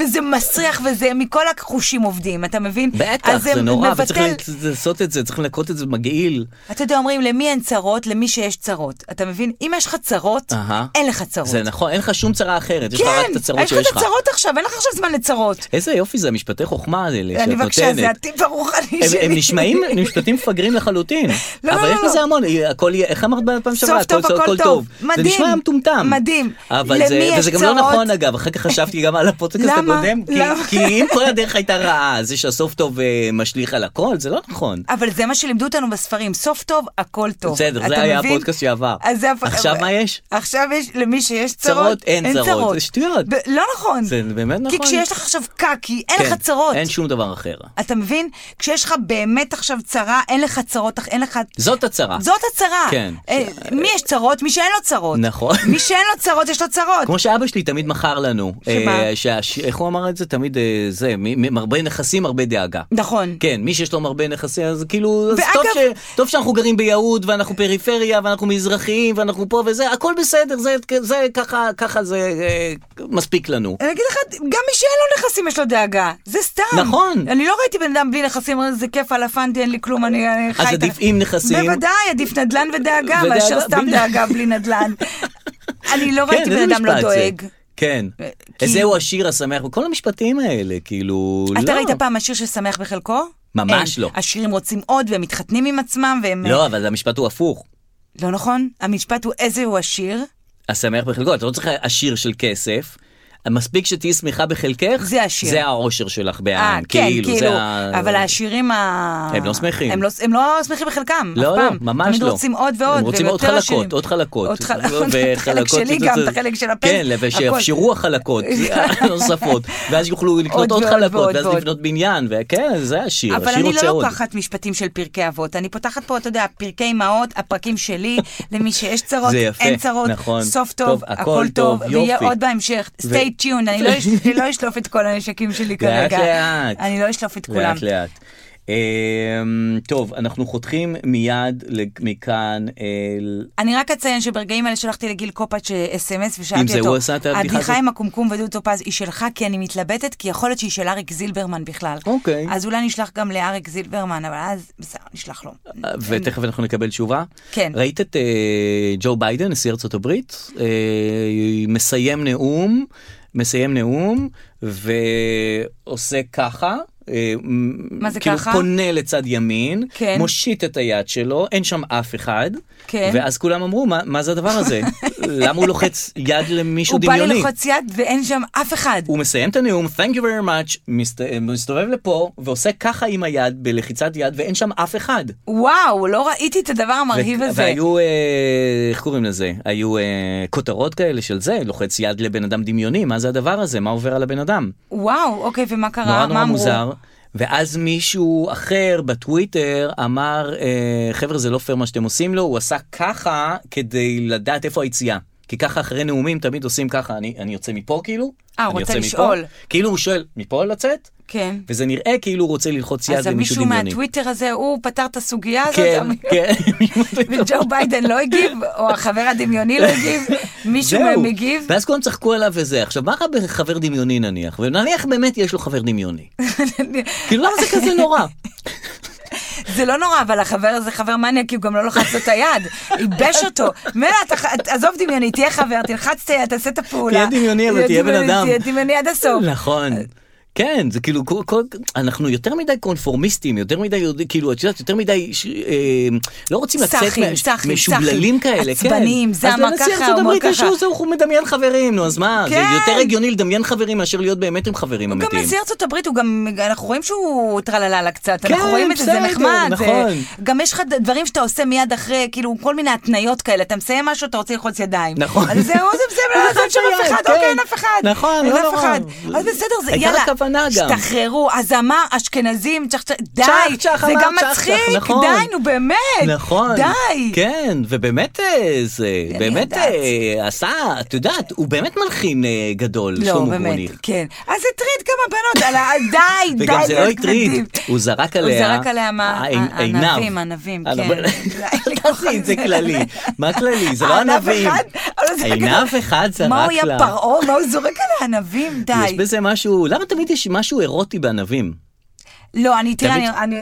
וזה מסריח, וזה מכל החושים עובדים, אתה מבין?
בטח,
אז
זה נורא,
מבטל-
וצריך ל- לעשות את זה, צריך לנקות את זה מגעיל.
אתה יודע, אומרים, למי אין צרות? למי שיש צרות. אתה מבין? אם יש לך צרות,
אהה.
אין לך צרות.
זה נכון, אין לך שום צרה אחרת, יש לך רק את
כן,
הצרות
יש לך
שיש
את
לך.
הצרות עכשיו, אין לך עכשיו זמן לצרות.
איזה יופי זה, משפטי חוכמה האלה שאת
אני
נותנת.
בבקשה, זה הטיפ הרוחני
הם-
שלי.
הם נשמעים, הם משפטים מפגרים לחלוטין.
לא,
אבל
לא,
יש
לא.
בזה המון, היא- הכל, יהיה- איך אמרת פעם שעברה?
סוף טוב, הכל טוב.
זה
מדהים.
נשמע מטומטם.
מדהים.
אבל
למי
זה,
יש
וזה גם לא
צרות?
נכון אגב, אחר כך חשבתי גם על הפודקאסט
למה?
הקודם, כי-
למה?
כי אם כל הדרך הייתה רעה, זה שהסוף טוב אה, משליך על הכל, זה לא נכון.
אבל זה מה שלימדו אותנו בספרים, סוף טוב, הכל טוב.
בסדר, זה
אתה
היה
מבין?
הפודקאסט שעבר.
אז זה הפ-
עכשיו מה יש?
עכשיו יש, למי שיש צרות,
צרות, אין צרות. זה שטויות.
ב- לא נכון.
זה באמת נכון.
כי כשיש לך עכשיו קקי, אין
כן,
לך צרות.
אין שום דבר אחר.
אתה מבין? כשיש לך באמת עכשיו צרה, אין לך צרות, אך- אין לך...
זאת הצרה.
זאת הצרה.
כן.
אה, מי יש צרות? מי שאין לו צרות.
נכון.
מי שאין לו צרות, יש לו צרות.
כמו שאבא שלי תמיד מכר לנו.
שמה?
אה, שהש- איך הוא אמר את זה? תמיד אה, זה, מ- מ- הרבה נכסים, הרבה דאגה.
נכון.
כן, מי שיש לו הרבה נכסים, אז כאילו, אז
ואגב-
טוב, ש... טוב שאנחנו גרים ביהוד, ואנחנו פריפריה, ואנחנו מזרחיים, ואנחנו פה וזה, הכל בסדר, זה, זה ככה, ככה זה אה, מספיק לנו.
אני אגיד לך, גם מי שאין לו נכסים יש לו דאגה. זה סתם.
נכון.
אני לא ראיתי בן אדם בלי נכסים, אומר, זה כיף, על הפנטי, אין לי כלום, אני אני חי...
אז
את ה-"
עדיף עם נכסים.
בוודאי, עדיף נדל"ן ודאגה,
ודאגה,
מאשר סתם
בדיוק. כן,
דאגה בלי נדל"ן. אני לא ראיתי
איזה
בן אדם לא
משפט זה?
דואג. אה,
כן.
כי-
זהו השיר השמח, וכל המשפטים האלה, כאילו, לא.
אתה ראית פעם השיר ששמח בחלקו?
ממש
אין.
לא.
השירים רוצים עוד, והם מתחתנים עם עצמם, והם...
לא, אבל המשפט הוא הפוך.
לא נכון? המשפט הוא איזה הוא השיר,
השמח בחלקו, אתה לא צריך עשיר של כסף. מספיק שתהיי שמחה בחלקך,
זה השיר.
זה העושר שלך
אה,
בעם,
כן,
כאילו, זה
כאילו,
ה-
אבל העשירים ה...
הם לא שמחים.
הם לא, הם לא שמחים בחלקם,
לא,
אף
לא,
פעם.
ממש
תמיד
לא.
רוצים עוד ועוד,
הם רוצים
והם
עוד
יותר
חלקות,
עשירים.
עוד חלקות.
עוד חל-
וחלקות-
את החלק שלי גם, את החלק של הפן.
כן, ושיאפשרו החלקות הנוספות, ואז יוכלו לקנות
עוד
עוד
ועוד
חלקות,
ועוד
ואז
ועוד.
לבנות בניין, וכן, זה השיר,
אבל
השיר
אני
רוצה
לא
עוד.
לוקחת משפטים של פרקי אבות, אני פותחת פה, אתה יודע, פרקי אמהות, הפרקים שלי, למי שיש צרות,
זה יפה,
אין צרות,
נכון.
סוף טוב,
טוב, הכל
הכל טוב,
טוב,
ויהיה
יופי.
עוד בהמשך,
ו-
stay tuned, אני לא אש- אני לא אשלוף את כל הנשקים שלי
לאט
כרגע.
לאט.
אני לא אשלוף את כולם.
לאט לאט. אמ, טוב, אנחנו חותכים מיד לג- מכאן אה, אל...
אני רק אציין שברגעים האלה שלחתי לגיל אה, קופאץ' אס.אם.אס ושאלתי
אם
אותו,
זה הוא עשה את הבדיחה הזאת?
עם הקומקום ודודו טופז היא שלך כי אני מתלבטת, כי יכול להיות שהיא של אריק זילברמן בכלל.
אוקיי.
אז אולי נשלח גם לאריק זילברמן, אבל אז בסדר, נשלח לו.
ותכף אנחנו נקבל תשובה.
כן.
ראית את אה, ג'ו ביידן, נשיא ארצות הברית, אה, מסיים נאום, מסיים נאום, ועושה ככה. אה,
מה זה
כאילו
ככה?
פונה לצד ימין,
כן.
מושיט את היד שלו, אין שם אף אחד,
כן.
ואז כולם אמרו, מה, מה זה הדבר הזה? למה הוא לוחץ יד למישהו
הוא בא
דמיוני?
לי ללחוץ יד ואין שם אף אחד.
הוא מסיים את הנאום, Thank you very much, מסת... מסתובב לפה ועושה ככה עם היד בלחיצת יד ואין שם אף אחד.
וואו, לא ראיתי את הדבר המרהיב
ו-
הזה.
והיו, אה, איך קוראים לזה? היו אה, כותרות כאלה של זה, לוחץ יד לבן אדם דמיוני, מה זה הדבר הזה? מה עובר על הבן אדם?
וואו, אוקיי, ומה קרה?
נורא
מה
נורא
אמרו?
מוזר. ואז מישהו אחר בטוויטר אמר, אה, חבר'ה זה לא פייר מה שאתם עושים לו, הוא עשה ככה כדי לדעת איפה היציאה. כי ככה אחרי נאומים תמיד עושים ככה, אני, אני יוצא מפה כאילו,
אה, הוא
אני
רוצה
יוצא
לשאול.
מפה, כאילו הוא שואל, מפה לצאת?
כן.
וזה נראה כאילו הוא רוצה ללחוץ יד
אז
למישהו
מישהו
דמיוני.
מהטוויטר הזה, הוא פתר את הסוגיה הזאת?
כן,
המ-
כן.
וג'ו ביידן לא הגיב, או החבר הדמיוני לא הגיב, מישהו
זהו.
מהם הגיב.
ואז כולם צחקו עליו וזה. עכשיו, מה רע בחבר דמיוני נניח? ונניח באמת יש לו חבר דמיוני. כאילו, למה זה כזה נורא?
זה לא נורא, אבל החבר הזה חבר מניאק, כי הוא גם לא לחץ לו את היד, ייבש אותו. מילא, ת- עזוב דמיוני, תהיה חבר, תלחץ את היד, תעשה את הפעולה.
תהיה דמיוני, אבל תהיה בן
דמיוני,
אדם.
תהיה דמיוני עד הסוף.
נכון. כן, זה כאילו, כל, כל, אנחנו יותר מדי קונפורמיסטים, יותר מדי, יודע- כאילו, את יודעת, יותר מדי, ש, אה, לא רוצים לצאת,
סאחים,
מה-
סאחים,
משובללים
סאחים.
כאלה, כן.
עצבניים, זעמה
אז לנשיא
ככה,
ארצות
הומור
הברית יש
ככה.
לו זה, הוא מדמיין חברים, נו, אז מה, זה
כן.
יותר הגיוני לדמיין חברים מאשר להיות באמת עם חברים
גם
אמיתיים.
נשיא ארצות הברית, הוא גם, אנחנו רואים שהוא טרללה קצת,
כן,
אנחנו רואים את זה, זה
בסדר,
נחמד. זה-
נכון.
גם יש לך ד- דברים שאתה עושה מיד אחרי, כאילו, כל מיני התניות כאלה, אתה מסיים משהו, אתה רוצה ללחוץ ידיים.
נכון.
אז זהו, זה בסדר, לא
ללחוץ
לעשות שם אף
יד,
אחד,
כן.
אוקיי, אין אף אחד.
נכון,
אין
לא
אף
נורא.
אחד. אז בסדר, זה,
העיקר
יאללה,
הכוונה גם.
השתחררו, הזמה, אשכנזים, צ'ח צ'ח, די,
צ'ח, צ'ח,
זה
אמר,
גם
צ'ח, צ'ח,
מצחיק,
נכון.
די, נו באמת,
נכון.
די.
כן, ובאמת אה, זה,
אני
באמת
יודעת.
אה, עשה, את יודעת, הוא באמת מלחין אה, גדול,
לא,
שלמה
באמת,
גרוניך.
כן. אז הטריד כמה בנות, על ה- די, די,
וגם זה לא
להיות
הטריד,
גנבים.
הוא זרק
הוא
עליה,
זרק עליה מה-
העין-
ה-
עיניו.
ענבים, ענבים,
אה, לא,
כן.
אבל- אל תעשי את זה כללי, מה כללי? זה לא
ענב
ענבים.
אחד? אבל זה
עיניו
כזה-
אחד זרק לה.
מה הוא היה פרעה? מה הוא זורק על הענבים?
יש
די.
בזה משהו, למה תמיד יש משהו אירוטי בענבים?
לא, אני, תראה,
תמיד-
אני... אני-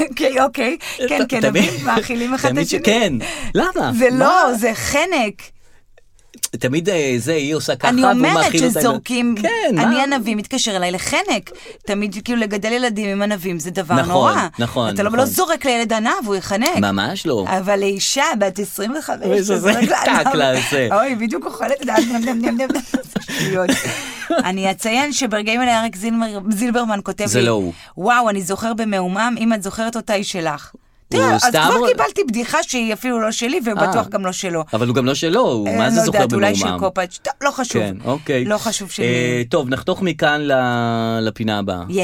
אוקיי, אוקיי. כן, כן,
תמיד-
ענבים מאכילים אחד את
תמיד ש-
השני.
כן, למה?
זה
מה?
לא, זה חנק.
תמיד אה, זה, היא עושה ככה,
אני
והוא
אומרת
מאכיל אותה.
שזורקים,
כן,
אני
מה?
ענבים מתקשר אליי לחנק. תמיד כאילו לגדל ילדים עם ענבים זה דבר
נכון,
נורא.
נכון,
אתה לא-
נכון.
לא זורק לילד ענב, הוא יחנק.
ממש לא.
אבל לאישה בת 25,
וזה-
שזורק
זה
לה
טאק לה, זה.
אוי, בדיוק אוכלת את זה, נם, נם, נם, נם, נם, זה שטויות. אני אציין שברגעים אלה אריק זילמר- זילברמן כותב לי,
זה לא הוא.
וואו, אני זוכר במהומם, אם את זוכרת אותה היא שלך. תראה,
הוא
אז
סתם
כבר
או-
קיבלתי בדיחה שהיא אפילו לא שלי, ובטוח גם לא שלו.
אבל הוא גם לא שלו, הוא
אה,
מה זה
לא
זוכר
יודעת,
במעומעם.
אולי של קופאץ', טוב, לא חשוב.
כן, אוקיי.
לא חשוב של...
אה, טוב, נחתוך מכאן ל- לפינה הבאה.
יא.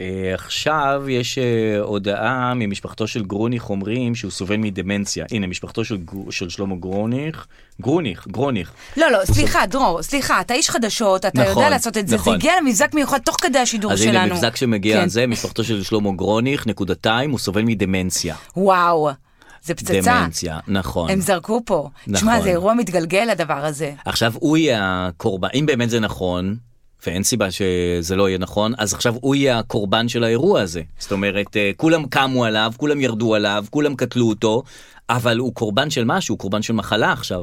אה, עכשיו יש אה, הודעה ממשפחתו של גרוניך אומרים שהוא סובל מדמנציה. הנה, משפחתו של, גר- של שלמה גרוניך, גרוניך, גרוניך.
לא, לא, סליחה, דרור, סליחה, אתה איש חדשות, אתה
נכון,
יודע לעשות את זה, זה
נכון.
הגיע למבזק מיוחד תוך כדי השידור
אז
שלנו.
הנה, מבזק שמגיע
כן.
על זה, משפחתו של שלמה גרוניך, נקודתיים, הוא סובל מדמנציה.
וואו, זה פצצה.
דמנציה, נכון.
הם זרקו פה.
נכון.
תשמע, זה אירוע מתגלגל הדבר הזה.
עכשיו הוא יהיה הקורבן, אם באמת זה נכון, ואין סיבה שזה לא יהיה נכון, אז עכשיו הוא יהיה הקורבן של האירוע הזה. זאת אומרת, אה, כולם קמו עליו, כולם ירדו עליו, כולם קטלו אותו, אבל הוא קורבן של משהו, הוא קורבן של מחלה עכשיו.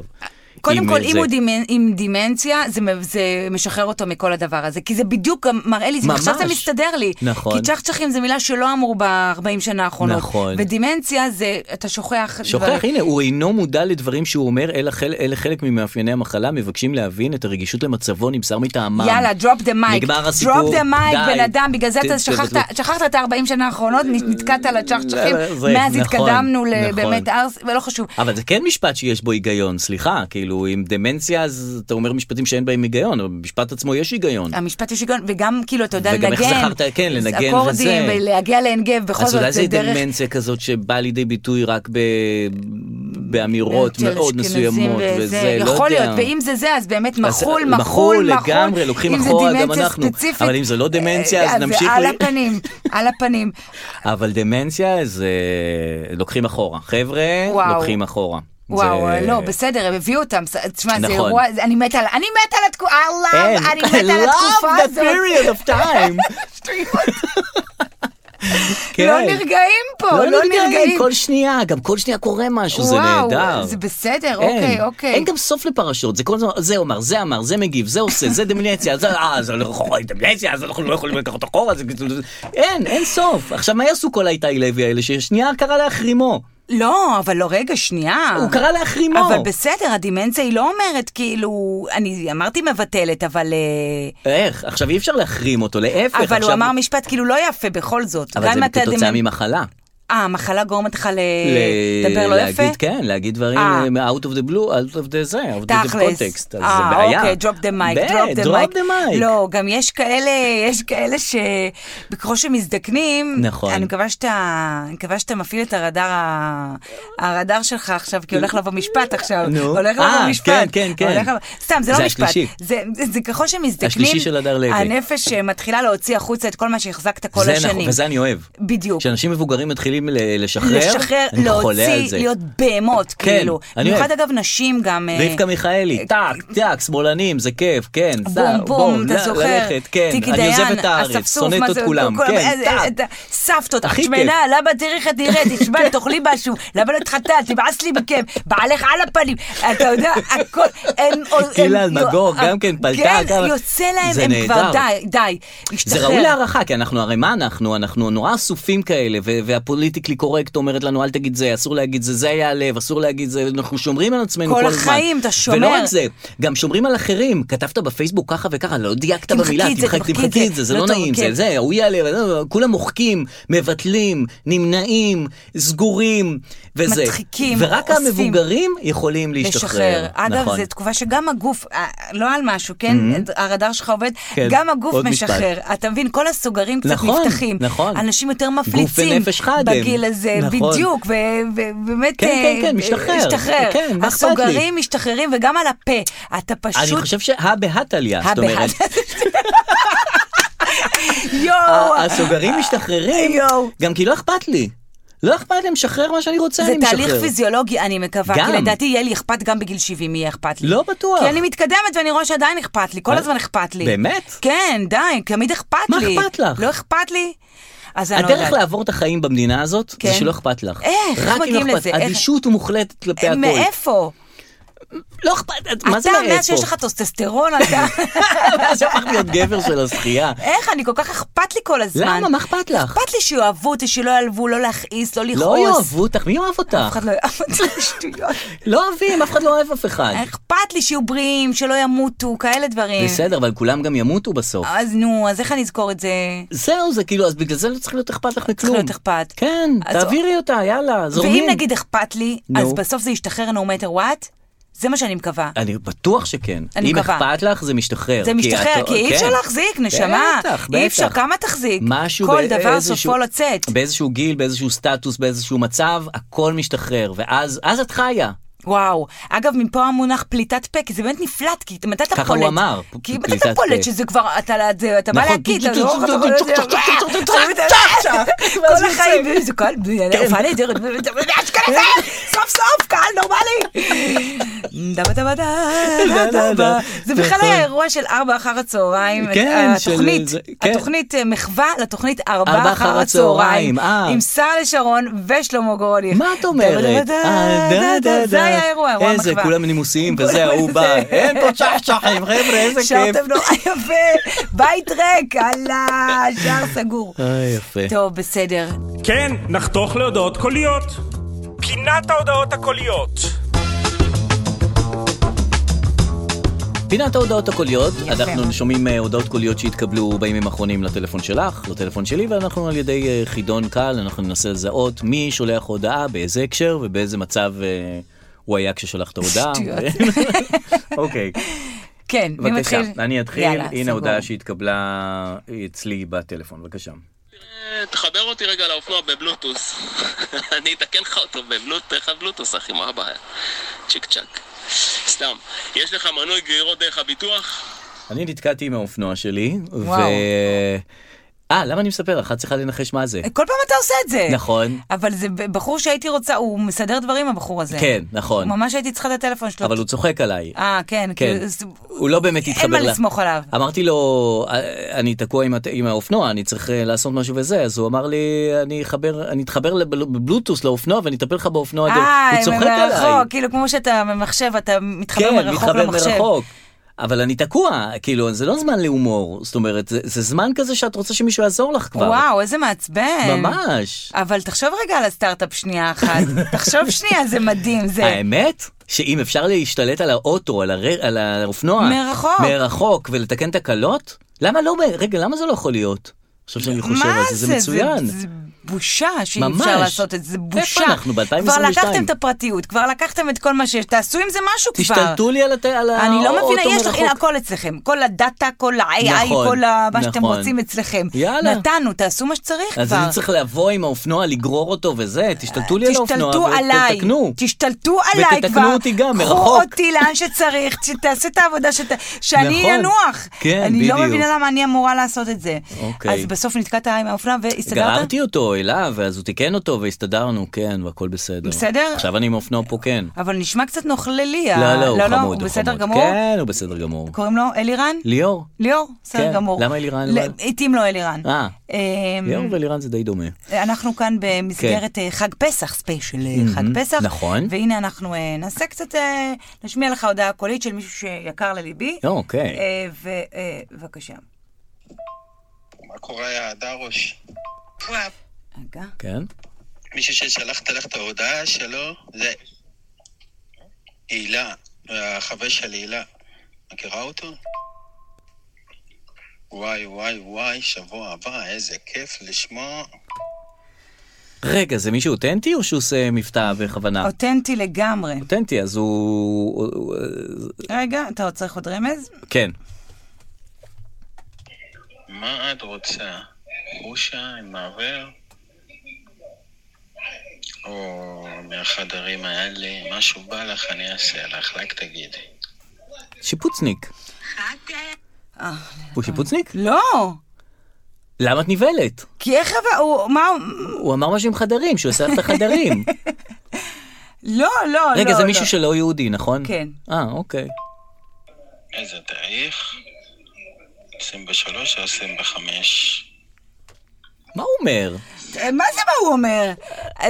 קודם כל,
אה,
אם
זה-
הוא דימנ- עם דימנציה, זה מ- זה משחרר אותו מכל הדבר הזה. כי זה בדיוק גם מראה לי, זה-
ממש.
עכשיו זה מסתדר לי.
נכון.
כי צ'חצ'חים זה מילה שלא אמרו ב-40 שנה האחרונות.
נכון.
ודימנציה זה, אתה שוכח.
שוכח,
דברים.
הנה, הוא אינו מודע לדברים שהוא אומר, אלה חלק, אלה חלק ממאפייני המחלה, מבקשים להבין את הרגישות למצבו, נמסר מטעמם.
יאללה, דרופ דה מייק.
נגמר הסיפור,
דרופ דה מייק,
די.
בן אדם, בגלל זה
ת-
אתה
ת-
שכחת, שכחת את ה-40 שנה האחרונות, נת- נתקעת על הצ'חצ'חים,
לא, לא, זה-
מאז
נכון,
התקדמנו
נכון.
לבאמת ארס, ולא חשוב.
אבל זה כן משפט שיש בו היגיון, סליחה, כאילו, עם דמנציה אז אתה אומר משפטים שאין בהם היגיון, אבל במשפט עצמו יש היגיון.
המשפט יש היגיון, וגם כאילו, אתה יודע,
וגם
לנגן.
איך זכרת, כן, לנגן וזה.
אקורדים, ולהגיע לעין גב, בכל
אז
זאת,
אולי
זה
זה
דרך...
דמנציה כזאת שבאה לידי ביטוי רק ב... באמירות
של
מאוד
אשכנזים
מסוימות וזה, לא
יכול
יודע.
להיות, ואם זה זה, אז באמת
אז
מחול, מחול, מחול.
מחול לגמרי, לוקחים
אם זה
אחורה, גם
דמנציה
אנחנו.
ספציפית,
אבל אם זה לא דמנציה,
אה,
אז
זה
נמשיך
על
ל-
הפנים, על הפנים.
אבל דמנציה זה לוקחים אחורה. חבר'ה,
וואו.
לוקחים אחורה.
וואו,
זה-
לא, בסדר, הם הביאו אותם, ס- תשמע, זה
נכון.
אירוע, אני מתה על, אני מתה על התקופה, I
אין,
love, אני מתה על התקופה
I love the
הזאת.
period of time. כן.
לא נרגעים פה, לא נרגעים.
כל שנייה, גם כל שנייה קורה משהו, זה
וואו,
נהדר.
זה בסדר,
אין.
אוקיי, אוקיי.
אין גם סוף לפרשות, זה כל הזמן, זה אומר, זה אמר, זה מגיב, זה עושה, זה דמינציה, זה אה, זה לא יכול, דמינציה, אז אנחנו לא יכולים לקחת אחורה, זה כאילו, אין, אין סוף. עכשיו, מה יעשו כל האיתי לוי האלה, ששנייה קרא להחרימו?
לא, אבל לא, רגע, שנייה.
הוא קרא להחרימו.
אבל בסדר, הדמנציה היא לא אומרת, כאילו, אני אמרתי מבטלת, אבל... אה,
איך? עכשיו אי אפשר להחרים אותו, להפך.
אבל
עכשיו-
הוא אמר משפט כאילו לא יפה בכל זאת.
אבל
גם
זה
אם אתה
כתוצאה
דמנ-
ממחלה.
אה, המחלה גורמת לך ל-
ל-
לדבר אה, לא יפה?
להגיד, כן, להגיד דברים
אה.
אה, out of the blue, out of the זה, out of the context, אז
אה,
זה בעיה.
אוקיי, drop the mic,
ב-
drop the
drop
mic.
the mic.
לא, גם יש כאלה, יש כאלה שבקרוב שמזדקנים,
נכון.
אני מקווה שאתה, אני מקווה שאתה מפעיל את הרדאר, ה- הרדאר שלך עכשיו, כי הולך לבוא משפט עכשיו.
נו.
הולך
אה,
לבוא משפט.
כן, כן, כן.
הולך לבוא- סתם, זה
זה
לא משפט.
השלישי.
זה- זה זה ככל שמזדקנים,
השלישי של הדר לוי.
הנפש אה, מתחילה להוציא החוצה את כל מה שהחזקת כל
זה
השנים.
נכון, וזה אני אוהב.
בדיוק.
כשאנשים מבוגרים מתחילים ל- לשחרר,
לשחרר,
אני חולה על
להוציא,
זה.
להיות בהמות,
כן,
כאילו.
אני אוהב.
במיוחד אגב נשים גם... אה,
רבקה מיכאלי, טאק, טאק, שמאלנים, זה כיף, כן, סע,
בום בום, אתה
ל-
זוכר?
ללכת, כן,
טיקי
אני
דיין,
עוזב את הארץ,
אספסוף,
שונאת
מה
את
זה,
כולם,
כל-
כן,
אה,
טאק.
אה, אה, סבתות, את
הכי
שמנה, למה תראי איך את נראית, תשמע, תאכלי משהו, למה לא התחתנת, תבעס לי מכם, בעלך על הפנים, אתה יודע, הכל, הם...
גילה
הם-
אלמגור
יו-
גם כן פלטה,
כן,
גם-
יוצא להם,
זה
הם כבר
נהדר.
די, די,
זה
להשתחרר.
ראוי להערכה, כי אנחנו, הרי מה אנחנו? אנחנו נורא אסופים כאלה, ו- והפוליטיקלי קורקט אומרת לנו, אל תגיד זה, אסור להגיד זה, זה היה הלב, אסור להגיד זה, אנחנו שומרים על עצמנו כל,
כל
הזמן.
החיים, אתה שומר.
ולא רק זה, גם שומרים על אחרים. כתבת בפייסבוק ככה וככה, לא דייקת
תמחקי
במילה,
את זה,
תמחק,
תמחקי את
תמחקי
זה.
את זה, זה
לא
לא
טוב,
נעים, זה
כן.
זה, הוא יעלה, אה, כולם מוחקים, מבטלים, נמנעים, סגורים, וזה.
מדחיקים,
ורק
אוספים.
המבוגרים יכולים להשתחרר.
אגב,
נכון. Mm-hmm.
זו תקופה שגם הגוף, אה, לא על משהו, כן? הרדאר שלך עובד,
כן,
גם הגוף
עוד
משחרר. אתה מבין? כל הסוגרים קצת
נכון,
נפתחים.
נכון.
אנשים יותר מפליצים
ונפש חד הם.
בגיל הזה,
נכון.
בדיוק, ו- ו- ובאמת...
כן, כן, כן,
אה,
משתחרר.
משתחרר.
כן, מה אכפת לי?
הסוגרים משתחררים, וגם על הפה. אתה
אני
פשוט...
חושב שהא בהא תליא, זאת אומרת,
יואו!
ה- אה, הסוגרים משתחררים,
אה, יואו.
גם כי לא אכפת לי. לא אכפת לי, משחרר מה שאני רוצה,
זה
אני משחרר.
תהליך פיזיולוגי, אני מקווה,
גם.
כי לדעתי יהיה לי אכפת גם בגיל 70, יהיה אכפת לי.
לא בטוח.
כי אני מתקדמת ואני רואה שעדיין אכפת לי, כל
אה,
הזמן אכפת לי.
באמת?
כן, די, תמיד אכפת
מה
לי.
אכפת לך?
לא אכפת לי? אז אני לא
הדרך
יודעת.
לעבור את החיים במדינה הזאת,
כן.
זה שלא אכפת לך.
איך? איך
רק אם לא
מגיעים
אכפת-
לזה? איך?
אדישות מוחלטת כלפי
אה,
הכול.
מאיפה?
לא אכפת, את- מה זה
אתה,
מאיפה?
מאז שיש לך טוסטסטרון, אתה...
מאז שהפכת להיות גבר של הזכייה.
איך? אני כל כך אכפת לי כל הזמן.
למה? מה אכפת לך?
אכפת לי שיאהבו אותי, שלא יעלבו, לא להכעיס, לא לכעוס.
לא יאהבו אותך, מי אוהב
אף
אותך?
אחד לא יאהב אותי, שטויות.
לא אוהבים, אף אחד לא אוהב אף אחד.
אכפת לי שיהיו בריאים, שלא ימותו, כאלה דברים.
בסדר, אבל כולם גם ימותו בסוף.
אז נו, אז איך אני אזכור את זה?
זהו, זה כאילו, אז בגלל זה לא צריך להיות אכפת לך מכלום.
להיות אכפת.
כן,
אז-
תעבירי אותה, יאללה, זורמים.
ואם נגיד אכפת לי, אז
נו.
בסוף זה ישתחרר no matter what? זה מה שאני מקווה.
אני בטוח שכן.
אני
אם
מקווה.
אכפת לך, זה משתחרר.
זה
אה, כי
משתחרר,
את-
כי אי אפשר
כן.
להחזיק, נשמה.
בטח, בטח.
אי אפשר, כמה תחזיק?
משהו
כל
באיזשהו-
דבר סופו לצאת.
באיזשהו גיל, באיזשהו סטטוס, באיזשהו מצב, הכל משתחרר, ואז אז את חיה.
וואו. אגב, מפה המונח פליטת פה, כי זה באמת נפלט, כי מתי אתה
ככה
פולט?
הוא אמר, פ-
כי מתי
פליטת
אתה פולט,
פה.
שזה כבר, אתה אתה- אתה בא
נכון.
להקיא, אתה לא... אתה לא-
ואז
כל החיים,
יוצא. כן.
זה כל... הופעה נהדרת, אשכנזי, סוף סוף, קהל נורמלי. דה דה דה דה דה דה. זה בכלל
נכון.
היה אירוע של ארבע אחר הצהריים,
כן, של
התוכנית,
זה- כן.
התוכנית אה, מחווה לתוכנית
ארבע
ארבע
אחר
אחר
הצהריים,
הצהריים,
אה.
עם שרה לשרון ושלמה גורלי.
מה את אומרת?
דה,
אה,
דה, דה, דה. זה היה אירוע, אירוע מחווה.
איזה, כולם נימוסים,
כולם
וזה, ההוא בא.
זה.
אין פה צ'חצ'חים, חבר'ה, איזה כיף.
שרתם נורא יפה, בית ריק, אללה, שער סגור.
אה, יפה.
טוב, בסדר.
כן, נחתוך להודעות קוליות. פינת ההודעות הקוליות.
פינת ההודעות הקוליות,
יפה.
אנחנו שומעים אה, הודעות קוליות שהתקבלו בימים האחרונים לטלפון שלך, לטלפון שלי, ואנחנו על ידי אה, חידון קל, אנחנו ננסה לזהות מי שולח הודעה, באיזה הקשר ובאיזה מצב אה, הוא היה כששלח את ההודעה.
שטויות.
אוקיי,
כן, מי
בבקשה,
מתחיל?
אני אתחיל,
יאללה,
הנה
סגור.
הודעה שהתקבלה אצלי בטלפון, בבקשה.
אה, תחבר אותי רגע לאופנוע בבלוטוס. אני אתקן לך אותו בבלוטוס, איך הבלוטוס אחי, מה הבעיה? צ'יק צ'אק. סתם. יש לך מנוי גרירות דרך הביטוח?
אני נתקעתי עם האופנוע שלי, ו...
וואו.
אה, למה אני מספר לך? את צריכה לנחש מה זה.
כל פעם אתה עושה את זה.
נכון.
אבל זה בחור שהייתי רוצה, הוא מסדר דברים, הבחור הזה.
כן, נכון.
ממש לא הייתי צריכה את הטלפון שלו.
אבל הוא צוחק עליי.
אה, כן.
כן,
כאילו, זה-
הוא לא באמת התחבר
אין מה
לה-
לסמוך עליו.
אמרתי לו, "אה, אני תקוע עם, הט- עם האופנוע, אני צריך אה, לעשות משהו וזה, אז הוא אמר לי, אני אחבר, אני אתחבר לבל- בבלוטוס לאופנוע ואני אטפל לך באופנוע, דרך." הוא צוחק עליי.
אה, מרחוק, כאילו כמו שאתה ממחשב, אתה מתחבר
כן,
מרחוק
מתחבר
למחשב.
מרחוק. אבל אני תקוע, כאילו, זה לא זמן להומור, זאת אומרת, זה, זה זמן כזה שאת רוצה שמישהו יעזור לך כבר.
וואו, איזה מעצבן.
ממש.
אבל תחשוב רגע על הסטארט-אפ שנייה אחת. תחשוב שנייה, זה מדהים, זה...
האמת, שאם אפשר להשתלט על האוטו, על, הר... על האופנוע,
מרחוק.
מרחוק ולתקן תקלות, למה לא, ב- רגע, למה זה לא יכול להיות? עכשיו שאני חושב
מה
על זה, זה מצוין.
זה- בושה שאי
ממש.
אפשר לעשות את זה, זה בושה.
איפה אנחנו? ב-אלפיים עשרים
כבר
ושתיים.
לקחתם את הפרטיות, כבר לקחתם את כל מה שיש, תעשו עם זה משהו כבר.
תשתלטו לי על הת- על האוטו
אני לא מבינה, יש לך,
מרחוק.
הנה הכל אצלכם, כל הדאטה, כל ה-AI,
נכון,
כל ה- מה שאתם
נכון.
רוצים אצלכם.
יאללה.
נתנו, תעשו מה שצריך
אז
כבר.
אני צריך לבוא עם האופנוע, לגרור אותו וזה, תשתלטו לי על האופנוע
תשתלטו עליי,
ותתקנו.
תשתלטו עליי כבר.
ותתקנו אותי גם,
קחו
מרחוק.
אותי לאן שצריך, תעשו את העבודה שת... שאני
נכון.
אנוח.
כן,
אני
בדיוק.
לא מבינה למה אני אמורה לעשות את זה.
אוקיי.
אז בסוף נתקעת עם האופנוע והסתדרת?
גררתי אותו אליו, אז הוא תיקן אותו והסתדרנו, כן, והכל בסדר.
בסדר?
עכשיו אני עם האופנוע פה, כן.
אבל נשמע קצת נוכללי. ה-
לא, לא, הוא חמוד,
הוא
הוא
בסדר
חמוד.
גמור?
כן, הוא בסדר גמור.
קוראים לו אלירן?
ליאור.
ליאור, בסדר
כן.
גמור.
למה אלירן,
ל-
אבל?
התאים לו אלירן.
אה.
אמ,
ליאור ואלירן זה די דומה.
אנחנו כאן במסגרת אה, חג פסח, ספיישל אה, חג פסח.
נכון.
והנה אנחנו אה, נעשה קצת, אה, נשמיע לך הודעה קולית של מישהו שיקר לליבי.
אוקיי.
אה, ו- אה, בבקשה.
מה קורה, יא דרוש?
רגע.
כן?
מישהו ששלחת לך את ההודעה שלו זה הילה, החבר של הילה. מכירה אותו? וואי, וואי, וואי, שבוע הבא, איזה כיף לשמוע.
רגע, זה מישהו אותנטי או שהוא עושה מבטא
אה.
בכוונה?
אותנטי לגמרי.
אותנטי, אז הוא... הוא-
רגע, אתה עוד צריך עוד רמז?
כן.
מה את רוצה? חושה עם מעבר? או מהחדרים האלה, משהו בא לך, אני אעשה לך, רק תגידי.
שיפוצניק.
אה,
הוא שיפוצניק?
לא!
למה את נבהלת?
כי איך אבל, הוא, מה, הוא-
הוא אמר משהו עם חדרים, שהוא עושה לך את החדרים.
לא, לא, לא.
רגע, זה
לא.
מישהו שלא יהודי, נכון?
כן.
אה, אוקיי.
איזה תאריך? 23 או 25?
מה הוא אומר?
אה, מה זה מה הוא אומר?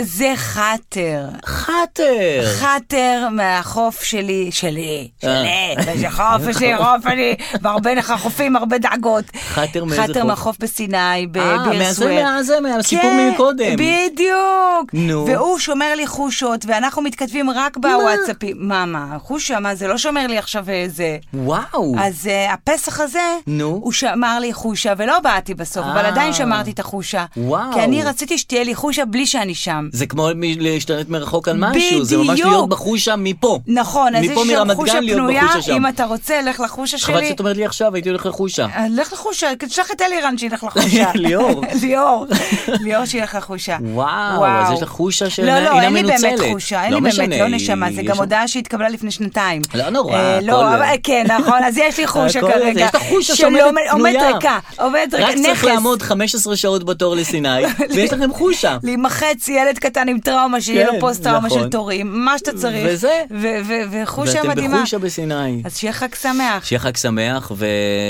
זה חאטר.
חאטר.
חאטר מהחוף שלי, שלי,
אה.
שלי, איזה חוף, יש לי חוף, אני, והרבה לך חופים, הרבה דאגות.
חאטר מאיזה
חאטר
חוף?
מהחוף בסיני,
אה,
בביר
מה- זה
סואר.
מה- זה מהסיפור
כן,
מקודם.
בדיוק.
נו.
והוא שומר לי חושות, ואנחנו מתכתבים רק בוואטסאפים. מה, מה, חושה, מה, זה לא שומר לי עכשיו איזה...
וואו.
אז uh, הפסח הזה,
נו.
הוא שמר לי חושה, ולא באתי בסוף, אבל
אה.
עדיין שמרתי את החושה.
וואו.
כי אני רציתי שתהיה לי חושה בלי שאני שם.
זה כמו מ- להשתלט מרחוק על משהו, זה ממש
בדיוק.
להיות בחוש שם מפה.
נכון, אז יש
מפה
שם
מרמת
חושה
גן להיות
פנויה,
בחושה שם.
אם אתה רוצה, לך לחושה שלי.
חבל שאת אומרת לי עכשיו, הייתי הולך לחושה.
אה, לך לחושה, תשלח את אלירן שילך לחושה.
ליאור.
ליאור, ליאור שילך לחושה.
וואו,
וואו.
אז יש לך חושה של-
לא, לא,
אינה
אין לי באמת
מנוצלת.
חושה, אין
לא
לי
משנה,
באמת, לא
היא-
נשמה, זה
יש
גם
שם-
הודעה שהתקבלה לפני שנתיים.
לא נורא,
אה,
הכל-
לא, אבל- כן, נכון, אז יש לי חושה
הכל-
כרגע.
יש לך חושה
שלא
שעומדת
עומד-
פנויה.
עומד ריקה, עומד ריקה,
רק
נכס.
צריך לעמוד 15 שעות בתור לסיני, ויש לכם חושה.
להימחץ ילד קטן עם טראומה, שיהיה
כן,
לו פוסט טראומה
נכון.
של תורים, מה שאתה צריך.
וזה.
ו- ו- וחושה
ואתם
מדהימה.
בחושה בסיני.
אז שיהיה חג שמח.
שיהיה חג שמח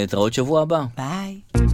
ותראות שבוע הבא.
ביי.